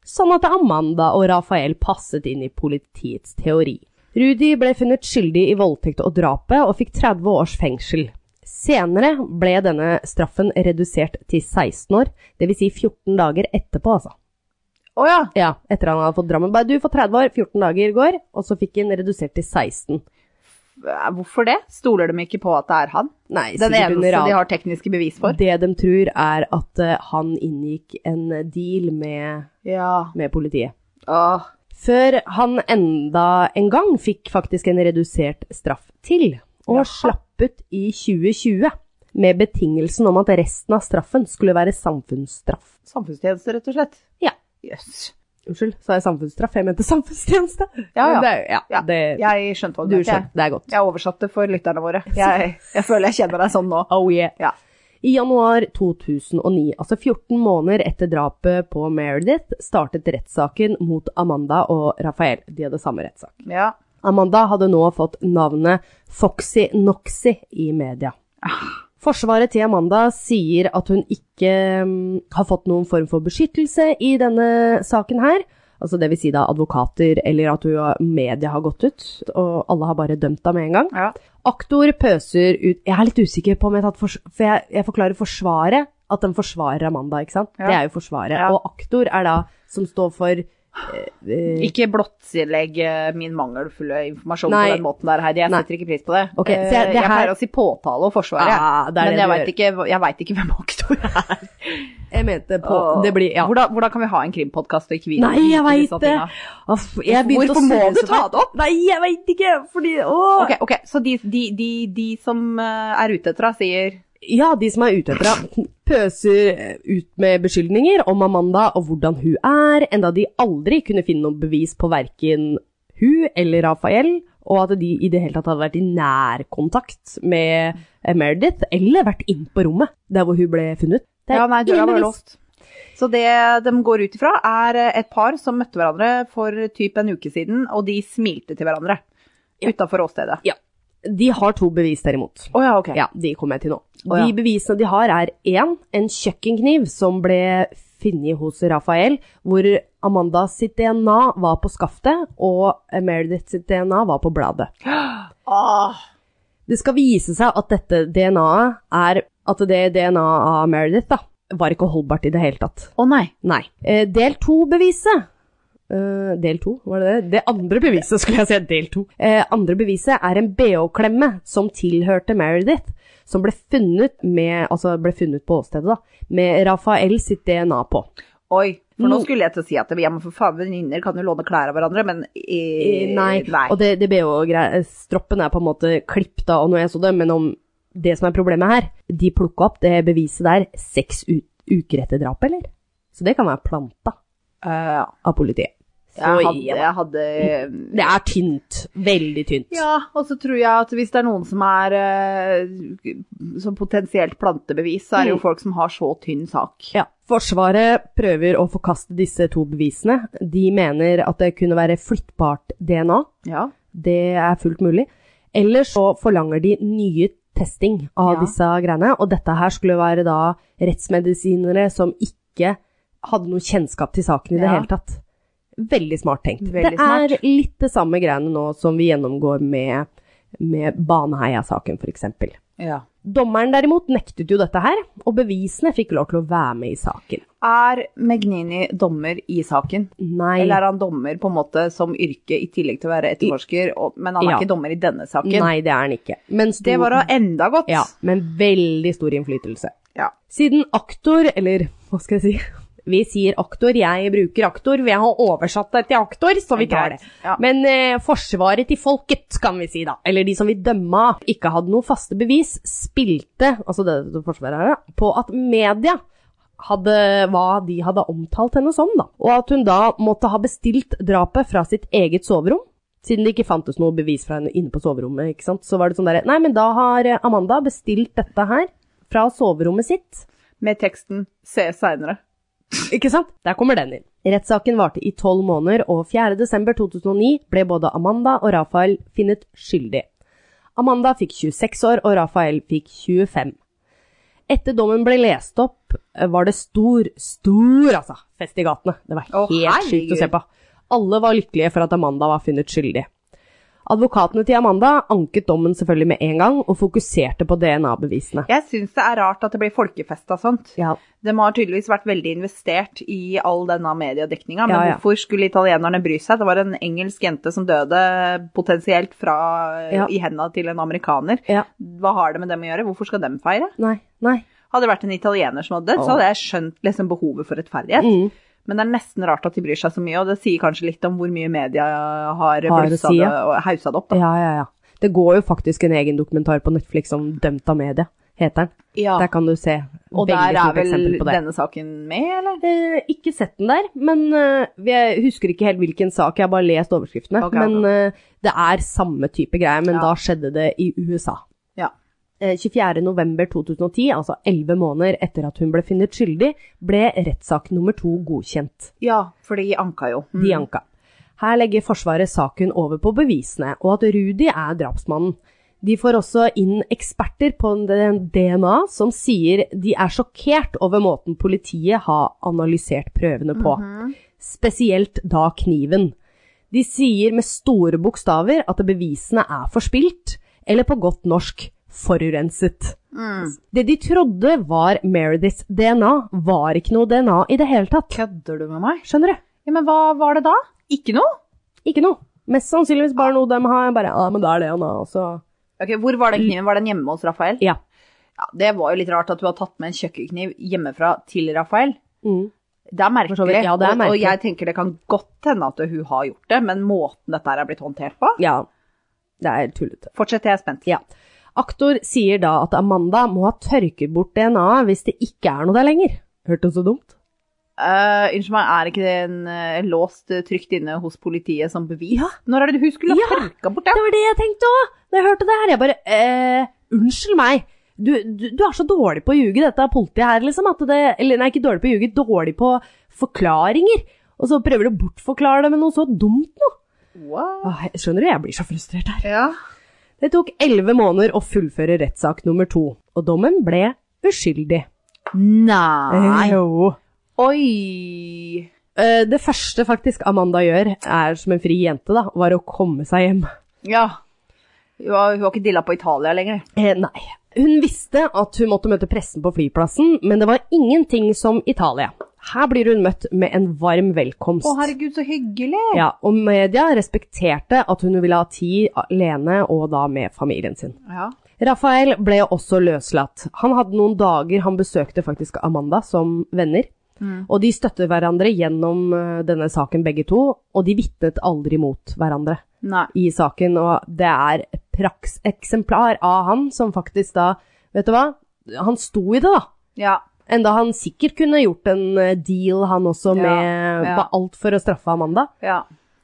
Speaker 1: Sånn at Amanda og Rafael passet inn i politiets teori. Rudi ble funnet skyldig i voldtekt og drapet og fikk 30 års fengsel. Senere ble denne straffen redusert til 16 år, dvs. Si 14 dager etterpå, altså.
Speaker 2: Å ja.
Speaker 1: Ja, etter han hadde fått Drammen. Bare du får 30 år, 14 dager går, og så fikk han redusert til 16.
Speaker 2: Hvorfor det? Stoler de ikke på at det er han?
Speaker 1: Nei,
Speaker 2: Den
Speaker 1: sikkert
Speaker 2: eneste
Speaker 1: under
Speaker 2: de
Speaker 1: radaren.
Speaker 2: har tekniske bevis for?
Speaker 1: Det de tror er at eh, han inngikk en deal med,
Speaker 2: Ja.
Speaker 1: med politiet.
Speaker 2: Åh.
Speaker 1: Før han enda en gang fikk faktisk en redusert straff til, og
Speaker 2: Jaha.
Speaker 1: slapp ut i 2020 med betingelsen om at resten av straffen skulle være samfunnsstraff.
Speaker 2: Samfunnstjeneste, rett og slett.
Speaker 1: Ja.
Speaker 2: Jøss.
Speaker 1: Unnskyld, sa jeg samfunnsstraff? Jeg mente samfunnstjeneste.
Speaker 2: Ja, ja.
Speaker 1: Men Det, er- ja,
Speaker 2: Ja,
Speaker 1: det,
Speaker 2: Jeg skjønte hva Eh, du
Speaker 1: du
Speaker 2: mente.
Speaker 1: skjønner,
Speaker 2: jeg.
Speaker 1: det er godt.
Speaker 2: Jeg oversatte for lytterne våre. Jeg, jeg føler jeg kjenner deg sånn nå.
Speaker 1: Oh yeah.
Speaker 2: Ja.
Speaker 1: I januar 2009, altså 14 måneder etter drapet på Meredith, startet rettssaken mot Amanda og Rafael. De hadde samme rettssak.
Speaker 2: Ja.
Speaker 1: Amanda hadde nå fått navnet Foxy Noxy i media. Forsvaret til Amanda sier at hun ikke mm, har fått noen form for beskyttelse i denne saken her. Altså det vil si da advokater, eller at hun, har- media har gått ut, og alle har bare dømt henne med en gang.
Speaker 2: ja.
Speaker 1: Aktor pøser ut Jeg er litt usikker på om jeg har tatt fors... For jeg, jeg forklarer Forsvaret at den forsvarer Amanda, ikke sant?
Speaker 2: Ja.
Speaker 1: Det er jo Forsvaret.
Speaker 2: Ja.
Speaker 1: Og aktor er da som står for eh,
Speaker 2: Ikke blottlegg eh, min mangelfulle informasjon
Speaker 1: Nei.
Speaker 2: på den måten der, Heidi. Jeg
Speaker 1: Nei.
Speaker 2: setter ikke pris på det.
Speaker 1: Ok, så
Speaker 2: Eh,
Speaker 1: jeg- det
Speaker 2: jeg
Speaker 1: her-
Speaker 2: pleier å si påtale og forsvaret,
Speaker 1: Ah, det er det
Speaker 2: men
Speaker 1: du
Speaker 2: jeg
Speaker 1: gjør.
Speaker 2: vet ikke- jeg veit ikke, hvem aktor er.
Speaker 1: Jeg mente på
Speaker 2: Og-
Speaker 1: Det blir Ja.
Speaker 2: hvordan, hvordan kan vi ha en krimpodkast og ikke vite
Speaker 1: Nei, jeg
Speaker 2: vite disse
Speaker 1: veit det!
Speaker 2: tinga?
Speaker 1: Aff, jeg begynte å
Speaker 2: Hvorfor må
Speaker 1: surre
Speaker 2: du
Speaker 1: så
Speaker 2: ta
Speaker 1: fælt.
Speaker 2: det opp?
Speaker 1: Nei, jeg veit ikke! Fordi Åh!
Speaker 2: Ok, ok, Så de, de, de, de som eh, er ute etter deg, sier
Speaker 1: Ja, de som er ute etter henne, pøser eh, ut med beskyldninger om Amanda og hvordan hun er, enda de aldri kunne finne noe bevis på verken hun eller Rafael, og at de i det hele tatt hadde vært i nær kontakt med eh, Meredith, eller vært inn på rommet der hvor hun ble funnet. Det er
Speaker 2: Ja, nei, døra
Speaker 1: ingen
Speaker 2: var
Speaker 1: bevis.
Speaker 2: låst. Så det de går ut ifra, er eh, et par som møtte hverandre for typ en uke siden, og de smilte til hverandre utafor åstedet.
Speaker 1: De har to bevis derimot.
Speaker 2: Å ja, ok.
Speaker 1: Ja, de kommer jeg til nå.
Speaker 2: Å, ja.
Speaker 1: De bevisene de har er én, en kjøkkenkniv som ble funnet hos Rafael, hvor Amanda sitt DNA var på skaftet, og Meredith sitt DNA var på bladet.
Speaker 2: Ah,
Speaker 1: Det skal vise seg at dette DNA-et er At det DNA-et av Meredith da, var ikke holdbart i det hele tatt.
Speaker 2: Å nei.
Speaker 1: Nei. Eh, Del to-beviset. Eh, del to, var det det? Det andre beviset, skulle jeg si. Del to. Eh, andre beviset er en bh-klemme som tilhørte Meredith, som ble funnet, med, altså ble funnet på åstedet, da, med Rafael sitt DNA på.
Speaker 2: Oi. For nå
Speaker 1: Mm.
Speaker 2: skulle jeg til å si at ja, men for faen, venninner kan jo låne klær av hverandre, men eh,
Speaker 1: Eh, nei. Og det, det BH-stroppen er på en måte klippet av når jeg så det, men om det som er problemet her, de plukka opp det beviset der seks u uker etter drapet, eller? Så det kan være planta
Speaker 2: Eh, ja.
Speaker 1: av politiet. Så Mm.
Speaker 2: jeg hadde,
Speaker 1: ja.
Speaker 2: jeg hadde eh,
Speaker 1: Det er tynt. Veldig tynt.
Speaker 2: Ja, og så tror jeg at hvis det er noen som er eh, som potensielt plantebevis, så er det
Speaker 1: Mm.
Speaker 2: jo folk som har så tynn sak.
Speaker 1: Ja. Forsvaret prøver å forkaste disse to bevisene. De mener at det kunne være flyttbart DNA.
Speaker 2: Ja.
Speaker 1: Det er fullt mulig. Eller så forlanger de nye testing av
Speaker 2: Ja.
Speaker 1: disse greiene. Og dette her skulle være da rettsmedisinere som ikke hadde noe kjennskap til saken i det
Speaker 2: Ja.
Speaker 1: hele tatt. Veldig smart tenkt.
Speaker 2: Veldig
Speaker 1: det er litt det samme greiene nå som vi gjennomgår med, med Baneheia-saken, f.eks.
Speaker 2: ja.
Speaker 1: Dommeren derimot nektet jo dette her, og bevisene fikk lov til å være med i saken.
Speaker 2: Er Magnini dommer i saken?
Speaker 1: Nei,
Speaker 2: Eller er han dommer på en måte som yrke i tillegg til å være etterforsker, og, men han er
Speaker 1: Ja.
Speaker 2: ikke dommer i denne saken?
Speaker 1: nei det er han ikke. Men stor,
Speaker 2: Det var da enda godt.
Speaker 1: Ja, men veldig stor innflytelse.
Speaker 2: Ja.
Speaker 1: Siden aktor, eller hva skal jeg si Vi sier aktor, jeg bruker aktor, vi har oversatt det til aktor, så vi tar det.
Speaker 2: Ja.
Speaker 1: Men eh, forsvaret til folket, kan vi si da, eller de som vil dømme, ikke hadde noe faste bevis, spilte, altså det, det forsvaret her, da, på at media hadde, hva de hadde omtalt henne som, da. Og at hun da måtte ha bestilt drapet fra sitt eget soverom. Siden det ikke fantes noe bevis fra henne inne på soverommet, ikke sant? så var det sånn derre Nei, men da har eh, Amanda bestilt dette her fra soverommet sitt.
Speaker 2: Med teksten 'se seinere'.
Speaker 1: Ikke sant? Der kommer den inn. Rettssaken varte i tolv måneder, og 4.12.2009 ble både Amanda og Rafael funnet skyldig. Amanda fikk 26 år, og Rafael fikk 25. Etter dommen ble lest opp, eh, var det stor, stor altså, fest i gatene. Det var
Speaker 2: Å,
Speaker 1: helt sykt
Speaker 2: herregud.
Speaker 1: å se på. Alle var lykkelige for at Amanda var funnet skyldig. Advokatene til Amanda anket dommen selvfølgelig med en gang, og fokuserte på DNA-bevisene.
Speaker 2: Jeg syns det er rart at det blir folkefest av sånt.
Speaker 1: Ja,
Speaker 2: De har tydeligvis vært veldig investert i all denne mediedekninga, men
Speaker 1: Ja, ja.
Speaker 2: hvorfor skulle italienerne bry seg? Det var en engelsk jente som døde potensielt fra, eh,
Speaker 1: Ja.
Speaker 2: i henda til en amerikaner.
Speaker 1: ja.
Speaker 2: Hva har det med dem å gjøre? Hvorfor skal dem feire?
Speaker 1: Nei, nei.
Speaker 2: Hadde det vært en italiener som hadde dødd, så hadde jeg skjønt liksom behovet for rettferdighet.
Speaker 1: Mm.
Speaker 2: Men det er nesten rart at de bryr seg så mye, og det sier kanskje litt om hvor mye media
Speaker 1: å
Speaker 2: har blussa
Speaker 1: si,
Speaker 2: det
Speaker 1: ja.
Speaker 2: og haussa det opp. Da.
Speaker 1: Ja, ja, ja. Det går jo faktisk en egen dokumentar på Netflix om Dømt av media, heter den. Der kan du se veldig
Speaker 2: Og der
Speaker 1: fint
Speaker 2: er vel
Speaker 1: eksempel på det.
Speaker 2: denne saken med, eller?
Speaker 1: Eh, ikke sett den der, men eh, jeg husker ikke helt hvilken sak, jeg har bare lest overskriftene.
Speaker 2: Ok, ok.
Speaker 1: men eh, det er samme type greie, men
Speaker 2: Ja.
Speaker 1: da skjedde det i USA.
Speaker 2: Ja.
Speaker 1: Eh, 24.11.2010, altså 11 måneder etter at hun ble funnet skyldig, ble rettssak nummer to godkjent.
Speaker 2: Ja, for de anka jo. Mm.
Speaker 1: De anka. Her legger Forsvaret saken over på bevisene, og at Rudi er drapsmannen. De får også inn eksperter på den DNA som sier de er sjokkert over måten politiet har analysert prøvene på, spesielt da kniven. De sier med store bokstaver at bevisene er forspilt, eller på godt norsk forurenset. Det de trodde var Merediths DNA, var ikke noe DNA i det hele tatt.
Speaker 2: Kødder du med meg?
Speaker 1: Skjønner du?
Speaker 2: Ja, men hva var det da? Ikke noe?
Speaker 1: Ikke noe. Mest sannsynligvis bare noe de har bare Ja, men da er det han, da. Og så
Speaker 2: Ok, Hvor var den kniven? Var den hjemme hos Rafael?
Speaker 1: Ja.
Speaker 2: Ja, Det var jo litt rart at du har tatt med en kjøkkenkniv hjemmefra til Rafael.
Speaker 1: Mm.
Speaker 2: Det er merkelig.
Speaker 1: For så vidt, ja, det er
Speaker 2: og- Og
Speaker 1: merkelig.
Speaker 2: jeg tenker det kan godt hende at hun har gjort det, men måten dette her er blitt håndtert på
Speaker 1: Ja. Det er tullete.
Speaker 2: Fortsett, jeg er spent.
Speaker 1: Ja. Aktor sier da at Amanda må ha tørket bort DNA-et hvis det ikke er noe der lenger. Hørtes så dumt?
Speaker 2: Eh, unnskyld meg, er ikke den eh, låst eh, trygt inne hos politiet som bevis?
Speaker 1: Ja.
Speaker 2: Når er det hun skulle ha
Speaker 1: Ja.
Speaker 2: tørka bort det?
Speaker 1: Det var det jeg tenkte òg! Da jeg hørte det her, jeg bare eh, Unnskyld meg. Du, du, du er så dårlig på å ljuge, dette politiet her, liksom. At det, eller nei, ikke dårlig på å ljuge, dårlig på forklaringer. Og så prøver du å bortforklare det med noe så dumt nå.
Speaker 2: Wow.
Speaker 1: Åh, jeg- skjønner du, jeg blir så frustrert her.
Speaker 2: Ja.
Speaker 1: Det tok elleve måneder å fullføre rettssak nummer to, og dommen ble uskyldig. Eh,
Speaker 2: Nei.
Speaker 1: Jo.
Speaker 2: Oi.
Speaker 1: Eh, Det første faktisk Amanda gjør, er som en fri jente, da, var å komme seg hjem.
Speaker 2: Ja. Hun har, hun har ikke dilla på Italia lenger.
Speaker 1: Eh, nei. Hun visste at hun måtte møte pressen på flyplassen, men det var ingenting som Italia. Her blir hun møtt med en varm velkomst.
Speaker 2: Å, herregud, så hyggelig.
Speaker 1: ja, og media respekterte at hun ville ha tid alene og da med familien sin.
Speaker 2: Ja.
Speaker 1: Rafael ble også løslatt. Han hadde noen dager han besøkte faktisk Amanda som venner.
Speaker 2: Mm.
Speaker 1: Og de støttet hverandre gjennom eh, denne saken begge to, og de vitnet aldri mot hverandre
Speaker 2: Nei.
Speaker 1: i saken, og det er et prakseksemplar av han som faktisk da, vet du hva, han sto i det da.
Speaker 2: Ja.
Speaker 1: Enda han sikkert kunne gjort en eh, deal han også
Speaker 2: Ja,
Speaker 1: med
Speaker 2: ja.
Speaker 1: på alt for å straffe Amanda.
Speaker 2: Ja.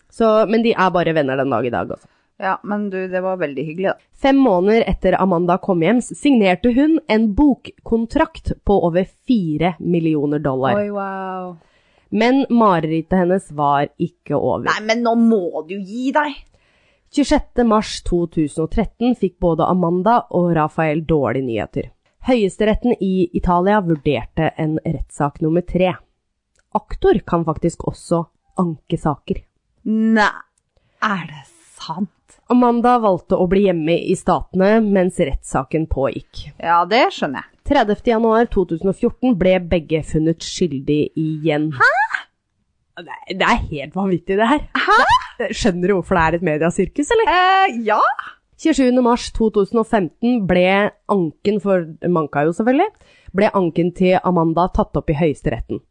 Speaker 1: Så, men de er bare venner den dag altså. i dag også.
Speaker 2: Ja, men du, det var veldig hyggelig, da.
Speaker 1: Fem måneder etter Amanda kom hjem, signerte hun en bokkontrakt på over fire millioner dollar.
Speaker 2: wow.
Speaker 1: Men marerittet hennes var ikke over.
Speaker 2: Nei, men nå må du gi deg!
Speaker 1: 26. mars 2013 fikk både Amanda og Rafael dårlige nyheter. Høyesteretten i Italia vurderte en rettssak nummer tre. Aktor kan faktisk også anke saker.
Speaker 2: Nei, er det sant?
Speaker 1: Amanda valgte å bli hjemme i Statene mens rettssaken pågikk.
Speaker 2: Ja, det skjønner jeg.
Speaker 1: 30. januar 2014 ble begge funnet skyldig igjen. Hæ? Det det er helt vanvittig, det her. Hæ? Skjønner du hvorfor det er et mediasirkus, eller?
Speaker 2: Eh, ja.
Speaker 1: 27. mars 2015 ble anken for Manka jo selvfølgelig, ble anken til Amanda tatt opp i høyesteretten.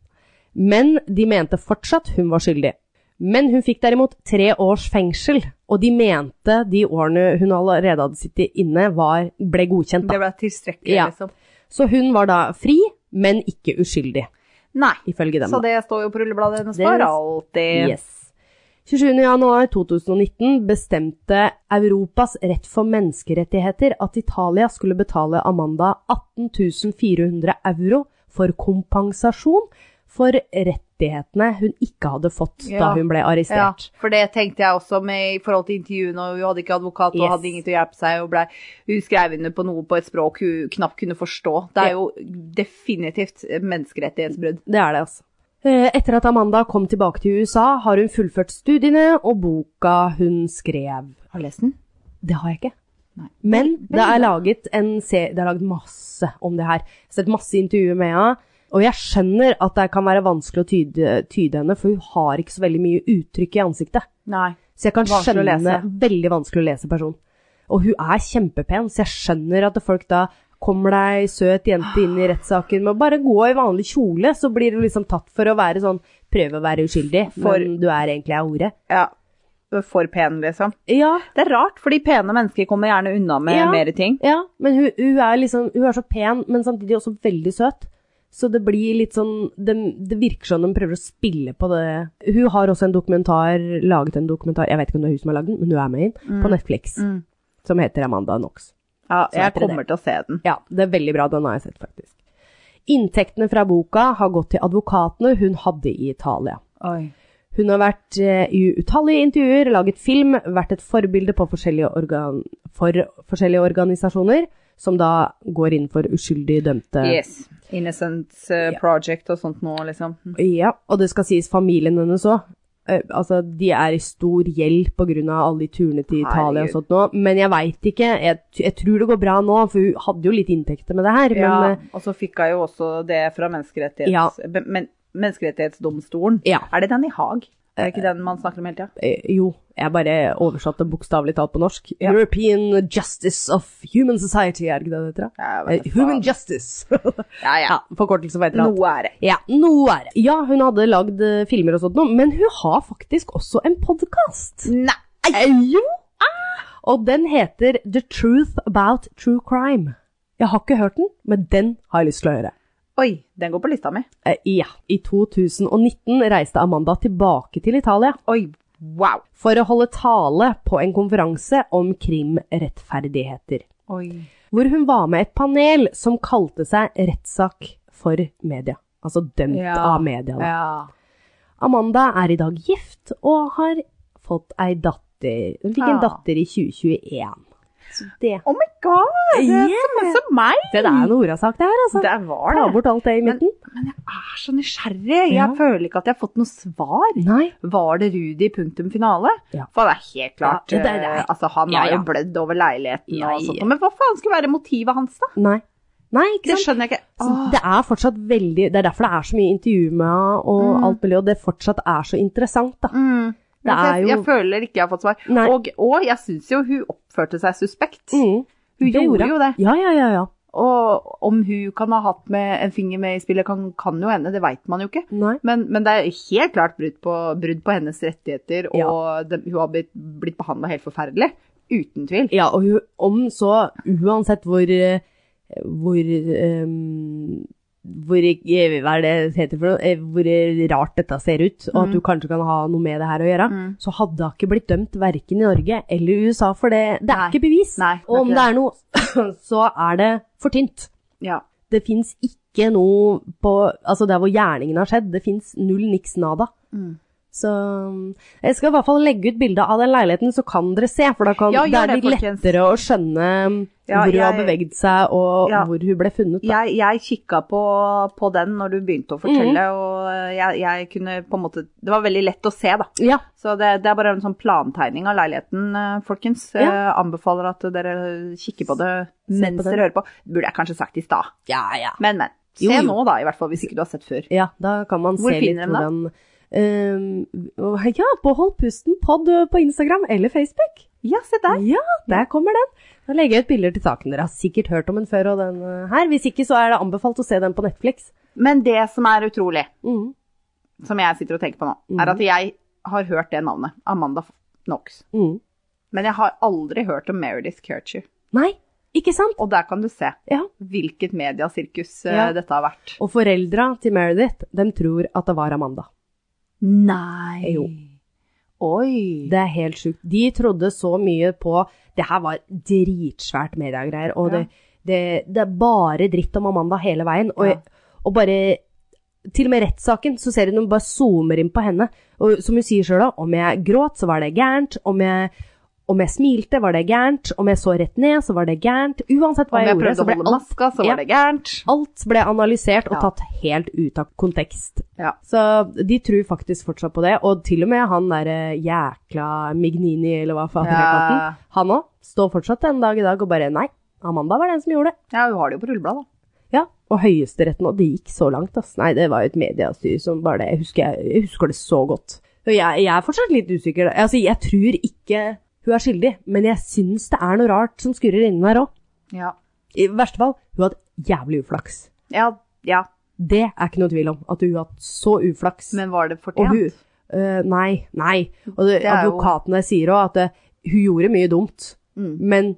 Speaker 1: Men de mente fortsatt hun var skyldig. Men hun fikk derimot tre års fengsel, og de mente de årene hun allerede hadde sittet inne, var, ble godkjent. Da.
Speaker 2: Det ble tilstrekkelig,
Speaker 1: Ja.
Speaker 2: liksom.
Speaker 1: Så hun var da fri, men ikke uskyldig,
Speaker 2: Nei.
Speaker 1: ifølge dem.
Speaker 2: Så
Speaker 1: da.
Speaker 2: det står jo på rullebladet hennes
Speaker 1: Det-
Speaker 2: for alltid.
Speaker 1: Yes. 27.1.2019 bestemte Europas rett for menneskerettigheter at Italia skulle betale Amanda 18 400 euro for kompensasjon for rettighetene hun ikke hadde fått da
Speaker 2: Ja.
Speaker 1: hun ble
Speaker 2: Ja,
Speaker 1: arrestert.
Speaker 2: for det tenkte jeg også med i forhold til intervjuene, og hun hadde ikke advokat og
Speaker 1: Yes.
Speaker 2: hadde ingen til å hjelpe seg, og ble, hun skrev under på noe på et språk hun knapt kunne forstå. Det er jo definitivt menneskerettighetsbrudd.
Speaker 1: Det er det, altså. Eh, Etter at Amanda kom tilbake til USA, har hun fullført studiene og boka hun skrev.
Speaker 2: Har du lest den?
Speaker 1: Det har jeg ikke.
Speaker 2: Nei.
Speaker 1: Men det er laget en se- Det er laget masse om det her. Jeg har sett masse intervjuer med henne. Og jeg skjønner at det kan være vanskelig å tyde, tyde henne, for hun har ikke så veldig mye uttrykk i ansiktet.
Speaker 2: Nei.
Speaker 1: Så jeg kan
Speaker 2: Vanskelig å
Speaker 1: skjønne
Speaker 2: lese.
Speaker 1: Veldig vanskelig å lese person. Og hun er kjempepen, så jeg skjønner at folk da Kommer deg søt jente inn i rettssaken med å bare gå i vanlig kjole, så blir du liksom tatt for å være sånn Prøve å være uskyldig,
Speaker 2: For-
Speaker 1: men du er egentlig av ordet.
Speaker 2: Ja. For pen, liksom.
Speaker 1: Ja,
Speaker 2: Det er rart, fordi pene mennesker kommer gjerne unna med
Speaker 1: Ja.
Speaker 2: mer ting.
Speaker 1: Ja, men hun, hun, er liksom, hun er så pen, men samtidig også veldig søt. Så det blir litt sånn Det, det virker som de prøver å spille på det. Hun har også en dokumentar, laget en dokumentar, jeg vet ikke om det er hun som har lagd den, men hun er med inn, på Netflix.
Speaker 2: Mm.
Speaker 1: Som heter Amanda Knox.
Speaker 2: Ja, jeg
Speaker 1: heter det
Speaker 2: kommer til å se den.
Speaker 1: Ja, det er veldig bra. Den har jeg sett, faktisk. Inntektene fra boka har gått til advokatene hun hadde i Italia.
Speaker 2: Oi.
Speaker 1: Hun har vært eh, i utallige intervjuer, laget film, vært et forbilde på forskjellige organ for forskjellige organisasjoner, som da går inn for uskyldig dømte.
Speaker 2: Yes. Innocent eh,
Speaker 1: Ja.
Speaker 2: Project og sånt noe, liksom.
Speaker 1: Ja, og det skal sies familien hennes òg. Altså, de er i stor gjeld pga. alle de turene til Italia og
Speaker 2: Herregud.
Speaker 1: sånt nå, men jeg veit ikke. Jeg, t- jeg tror det går bra nå, for hun hadde jo litt inntekter med det her,
Speaker 2: Ja,
Speaker 1: men eh,
Speaker 2: og så fikk hun jo også det fra
Speaker 1: Ja.
Speaker 2: menneskerettighets... be- Men, menneskerettighetsdomstolen.
Speaker 1: Ja.
Speaker 2: Er det den i Haag? Er det ikke den man snakker om hele tida?
Speaker 1: Eh, Jo, jeg bare oversatte bokstavelig talt på norsk.
Speaker 2: Ja.
Speaker 1: European Justice of Human Society, er det ikke det det heter? da?
Speaker 2: Ja, jeg vet
Speaker 1: Eh,
Speaker 2: da
Speaker 1: Human
Speaker 2: faen.
Speaker 1: Justice.
Speaker 2: Ja, ja.
Speaker 1: ja, forkortelse for et eller annet.
Speaker 2: Noe er det.
Speaker 1: Ja, noe er det. Ja, hun hadde lagd eh, filmer og sånt noe, men hun har faktisk også en podkast.
Speaker 2: Nei!
Speaker 1: Jo! Og den heter The Truth About True Crime. Jeg har ikke hørt den, men den har jeg lyst til å høre.
Speaker 2: Oi, den går på lista mi.
Speaker 1: Eh, Ja. I 2019 reiste Amanda tilbake til Italia
Speaker 2: Oi, wow.
Speaker 1: for å holde tale på en konferanse om krimrettferdigheter,
Speaker 2: Oi.
Speaker 1: hvor hun var med et panel som kalte seg Rettssak for media. Altså dømt
Speaker 2: Ja.
Speaker 1: av media. da.
Speaker 2: Ja.
Speaker 1: Amanda er i dag gift og har fått ei datter. Hun fikk en
Speaker 2: Ah.
Speaker 1: datter i 2021. Så det,
Speaker 2: Oh my god, det er
Speaker 1: Yeah.
Speaker 2: samme som meg!
Speaker 1: det er en orasak, det her, altså.
Speaker 2: Der var
Speaker 1: Ta
Speaker 2: det.
Speaker 1: bort alt det i midten.
Speaker 2: Jeg er så nysgjerrig. Jeg
Speaker 1: Ja.
Speaker 2: føler ikke at jeg har fått noe svar.
Speaker 1: Nei.
Speaker 2: Var det Rudi punktum finale?
Speaker 1: Ja.
Speaker 2: For det er helt klart
Speaker 1: Ja, det er det.
Speaker 2: eh, Altså, han
Speaker 1: Ja,
Speaker 2: har
Speaker 1: ja.
Speaker 2: jo blødd over leiligheten
Speaker 1: Ja,
Speaker 2: og sånt.
Speaker 1: ja.
Speaker 2: Men hva faen skulle være motivet hans, da?
Speaker 1: Nei. Nei, ikke
Speaker 2: Det
Speaker 1: sant?
Speaker 2: skjønner jeg ikke.
Speaker 1: Så det er fortsatt veldig Det er derfor det er så mye intervju med henne og alt mulig, og det fortsatt er så interessant, da.
Speaker 2: Mm.
Speaker 1: Det
Speaker 2: Men
Speaker 1: er
Speaker 2: jeg,
Speaker 1: jo-
Speaker 2: jeg føler ikke jeg har fått svar.
Speaker 1: Nei.
Speaker 2: Og, og jeg syns jo hun oppførte seg suspekt.
Speaker 1: Mm.
Speaker 2: Hun gjorde jo det.
Speaker 1: Ja, ja, ja. ja.
Speaker 2: Og om hun kan ha hatt med en finger med i spillet, kan, kan jo hende, det veit man jo ikke.
Speaker 1: Nei.
Speaker 2: Men, men det er helt klart brudd på, brudd på hennes rettigheter, og
Speaker 1: Ja.
Speaker 2: det, hun har blitt, blitt behandla helt forferdelig. Uten tvil.
Speaker 1: Ja, og hun, om så Uansett hvor eh, Hvor ehm, hvor, eh, hva er det det heter for noe? Eh, hvor rart dette ser ut, og at du kanskje kan ha noe med det her å gjøre,
Speaker 2: Mm.
Speaker 1: så hadde hun ikke blitt dømt verken i Norge eller i USA, for det, det er
Speaker 2: Nei.
Speaker 1: ikke bevis.
Speaker 2: Nei, det er
Speaker 1: og om
Speaker 2: ikke
Speaker 1: det er noe, så er det for tynt.
Speaker 2: Ja.
Speaker 1: Det fins ikke noe på Altså, der hvor gjerningen har skjedd, det fins null niks nada.
Speaker 2: Mm.
Speaker 1: Så jeg skal i hvert fall legge ut bilde av den leiligheten, så kan dere se. For da kan,
Speaker 2: Ja,
Speaker 1: det
Speaker 2: gjør
Speaker 1: er
Speaker 2: det,
Speaker 1: litt
Speaker 2: folkens.
Speaker 1: lettere å skjønne um,
Speaker 2: Ja,
Speaker 1: hvor hun har
Speaker 2: jeg-
Speaker 1: beveget seg, og
Speaker 2: Ja.
Speaker 1: hvor hun ble funnet. Da.
Speaker 2: Jeg, jeg kikka på, på den når du begynte å fortelle, og jeg, jeg kunne på en måte Det var veldig lett å se, da.
Speaker 1: Ja.
Speaker 2: Så det, det er bare en sånn plantegning av leiligheten, eh, folkens.
Speaker 1: Ja.
Speaker 2: Eh, Anbefaler at dere kikker på det
Speaker 1: på
Speaker 2: mens
Speaker 1: den.
Speaker 2: dere hører på. Burde jeg kanskje sagt i stad,
Speaker 1: ja, ja.
Speaker 2: men, men. Se
Speaker 1: Jo, jo.
Speaker 2: nå, da, i hvert fall, hvis ikke du har sett før.
Speaker 1: Ja, da kan man
Speaker 2: Hvor
Speaker 1: se litt
Speaker 2: finner de
Speaker 1: hvordan ehm, Ja, på Hold pusten pod på Instagram eller Facebook.
Speaker 2: Ja, se der.
Speaker 1: Ja, der kommer den. Da legger jeg ut bilder til saken. Dere har sikkert hørt om den før og den eh, her. Hvis ikke, så er det anbefalt å se den på Netflix.
Speaker 2: Men det som er utrolig,
Speaker 1: Mhm.
Speaker 2: som jeg sitter og tenker på nå,
Speaker 1: Mhm.
Speaker 2: er at jeg har hørt det navnet. Amanda Knox.
Speaker 1: Mhm.
Speaker 2: Men jeg har aldri hørt om Meredith Kircher.
Speaker 1: Nei, ikke sant?
Speaker 2: Og der kan du se
Speaker 1: Ja.
Speaker 2: hvilket mediasirkus eh,
Speaker 1: Ja.
Speaker 2: dette har vært.
Speaker 1: Og foreldra til Meredith, de tror at det var Amanda.
Speaker 2: Nei.
Speaker 1: Jo.
Speaker 2: Oi.
Speaker 1: Det er helt sjukt. De trodde så mye på Det her var dritsvært mediegreier, og det, det, det er bare dritt om Amanda hele veien. Og,
Speaker 2: Ja.
Speaker 1: og bare Til og med rettssaken, så ser hun hun bare zoomer inn på henne. Og som hun sier sjøl, om jeg gråt, så var det gærent. Om jeg, om jeg smilte, var det gærent. Om jeg så rett ned, så var det gærent. Uansett hva
Speaker 2: Om
Speaker 1: jeg,
Speaker 2: jeg
Speaker 1: gjorde,
Speaker 2: prøvde
Speaker 1: så
Speaker 2: å
Speaker 1: ble
Speaker 2: holde
Speaker 1: alt,
Speaker 2: maska, så var
Speaker 1: Ja.
Speaker 2: det gærent.
Speaker 1: alt ble analysert og
Speaker 2: Ja.
Speaker 1: tatt helt ut av kontekst.
Speaker 2: Ja.
Speaker 1: Så de tror faktisk fortsatt på det, og til og med han der eh, jækla Mignini, eller hva faen heter
Speaker 2: Ja.
Speaker 1: han? Han òg står fortsatt en dag i dag og bare nei, Amanda var den som gjorde det.
Speaker 2: Ja, hun har det jo på rullebladet, da.
Speaker 1: Ja, og høyesteretten, og det gikk så langt, ass. Nei, det var jo et mediestyr som bare det, jeg husker, jeg husker det så godt. Og jeg, jeg er fortsatt litt usikker. Altså, jeg tror ikke hun er skyldig, men jeg syns det er noe rart som skurrer inni der òg.
Speaker 2: Ja.
Speaker 1: I verste fall, hun hadde jævlig uflaks.
Speaker 2: Ja, ja.
Speaker 1: Det er ikke noe tvil om, at hun har hatt så uflaks.
Speaker 2: Men var det
Speaker 1: Og hun
Speaker 2: fortjent?
Speaker 1: eh, Nei, nei. Og det,
Speaker 2: Det er jo-
Speaker 1: advokaten der sier òg at eh, hun gjorde mye dumt,
Speaker 2: Mm.
Speaker 1: men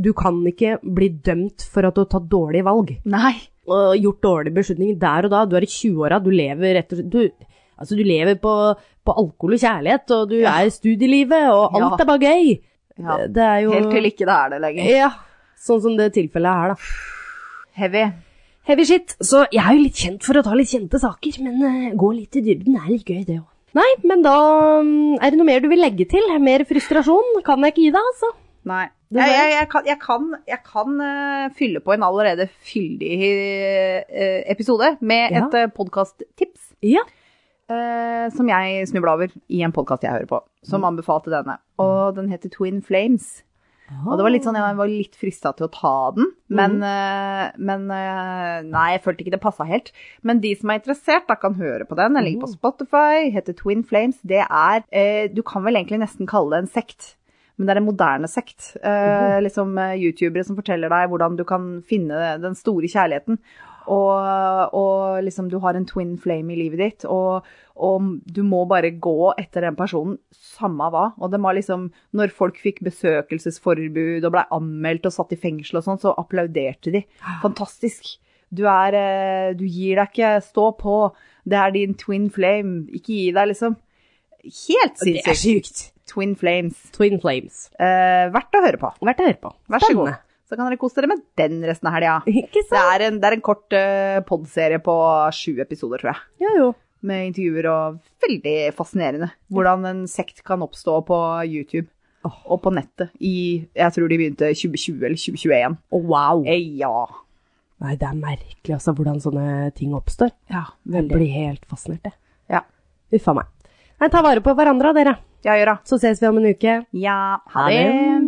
Speaker 1: du kan ikke bli dømt for at du har tatt dårlige valg
Speaker 2: Nei.
Speaker 1: og gjort dårlige beslutninger der og da. Du er i 20-åra, du lever rett og slett du, Altså, du lever på, på alkohol og kjærlighet, og du er i studielivet, og alt
Speaker 2: Ja.
Speaker 1: er bare gøy.
Speaker 2: Ja.
Speaker 1: Det- Det er jo
Speaker 2: Helt til ikke det er det lenger.
Speaker 1: Ja. Sånn som det tilfellet her, da.
Speaker 2: Heavy.
Speaker 1: Heavy shit. Så jeg er jo litt kjent for å ta litt kjente saker, men eh, gå litt i dybden er litt gøy, det òg. Nei, men da mm, Er det noe mer du vil legge til? Mer frustrasjon kan jeg ikke gi deg, altså.
Speaker 2: Nei.
Speaker 1: Det
Speaker 2: Jeg,
Speaker 1: var-
Speaker 2: jeg, jeg kan, jeg kan, jeg kan eh, fylle på en allerede fyldig eh, episode med
Speaker 1: Ja.
Speaker 2: et uh, podkasttips
Speaker 1: Ja.
Speaker 2: eh, som
Speaker 1: Mm.
Speaker 2: jeg snubla over i en podkast jeg hører på, som anbefalte denne. Og den heter Twin Flames. Og det var litt sånn, jeg var litt frista til å ta den, men, eh, men eh, Nei, jeg følte ikke det passa helt. Men de som er interessert, da kan høre på den. Den ligger på Spotify, heter Twin Flames. Det er eh, Du kan vel egentlig nesten kalle det en sekt. Men det er en moderne sekt. Eh, liksom eh, Youtubere som forteller deg hvordan du kan finne den store kjærligheten. Og, og liksom du har en twin flame i livet ditt, og, og du må bare gå etter den personen, samme hva. Og det var liksom Når folk fikk besøkelsesforbud og blei anmeldt og satt i fengsel og sånn, så applauderte de. Fantastisk. Du er eh, Du gir deg ikke. Stå på. Det er din twin flame. Ikke gi deg, liksom. Helt
Speaker 1: Det er
Speaker 2: sinnssykt.
Speaker 1: sjukt.
Speaker 2: Twin flames.
Speaker 1: Twin Flames.
Speaker 2: Eh, verdt å høre på.
Speaker 1: Verdt å høre på.
Speaker 2: Vær så god.
Speaker 1: Spennende.
Speaker 2: Så kan dere kose dere med den resten av helga.
Speaker 1: Ikke
Speaker 2: Det
Speaker 1: sant?
Speaker 2: er en, det er en kort uh, podserie på sju episoder, tror jeg.
Speaker 1: Jo, jo.
Speaker 2: Med intervjuer og veldig fascinerende. Hvordan en sekt kan oppstå på YouTube og på nettet i Jeg tror de begynte 2020 eller 2021.
Speaker 1: Å, wow.
Speaker 2: Eh, ja.
Speaker 1: Nei, det er merkelig altså, hvordan sånne ting oppstår.
Speaker 2: Ja,
Speaker 1: Jeg
Speaker 2: veldig.
Speaker 1: blir helt fascinert, jeg.
Speaker 2: Ja.
Speaker 1: Uffa meg. Nei, ta vare på hverandre, dere.
Speaker 2: Ja, gjør det.
Speaker 1: Så ses vi om en uke.
Speaker 2: Ja,
Speaker 1: Ha det.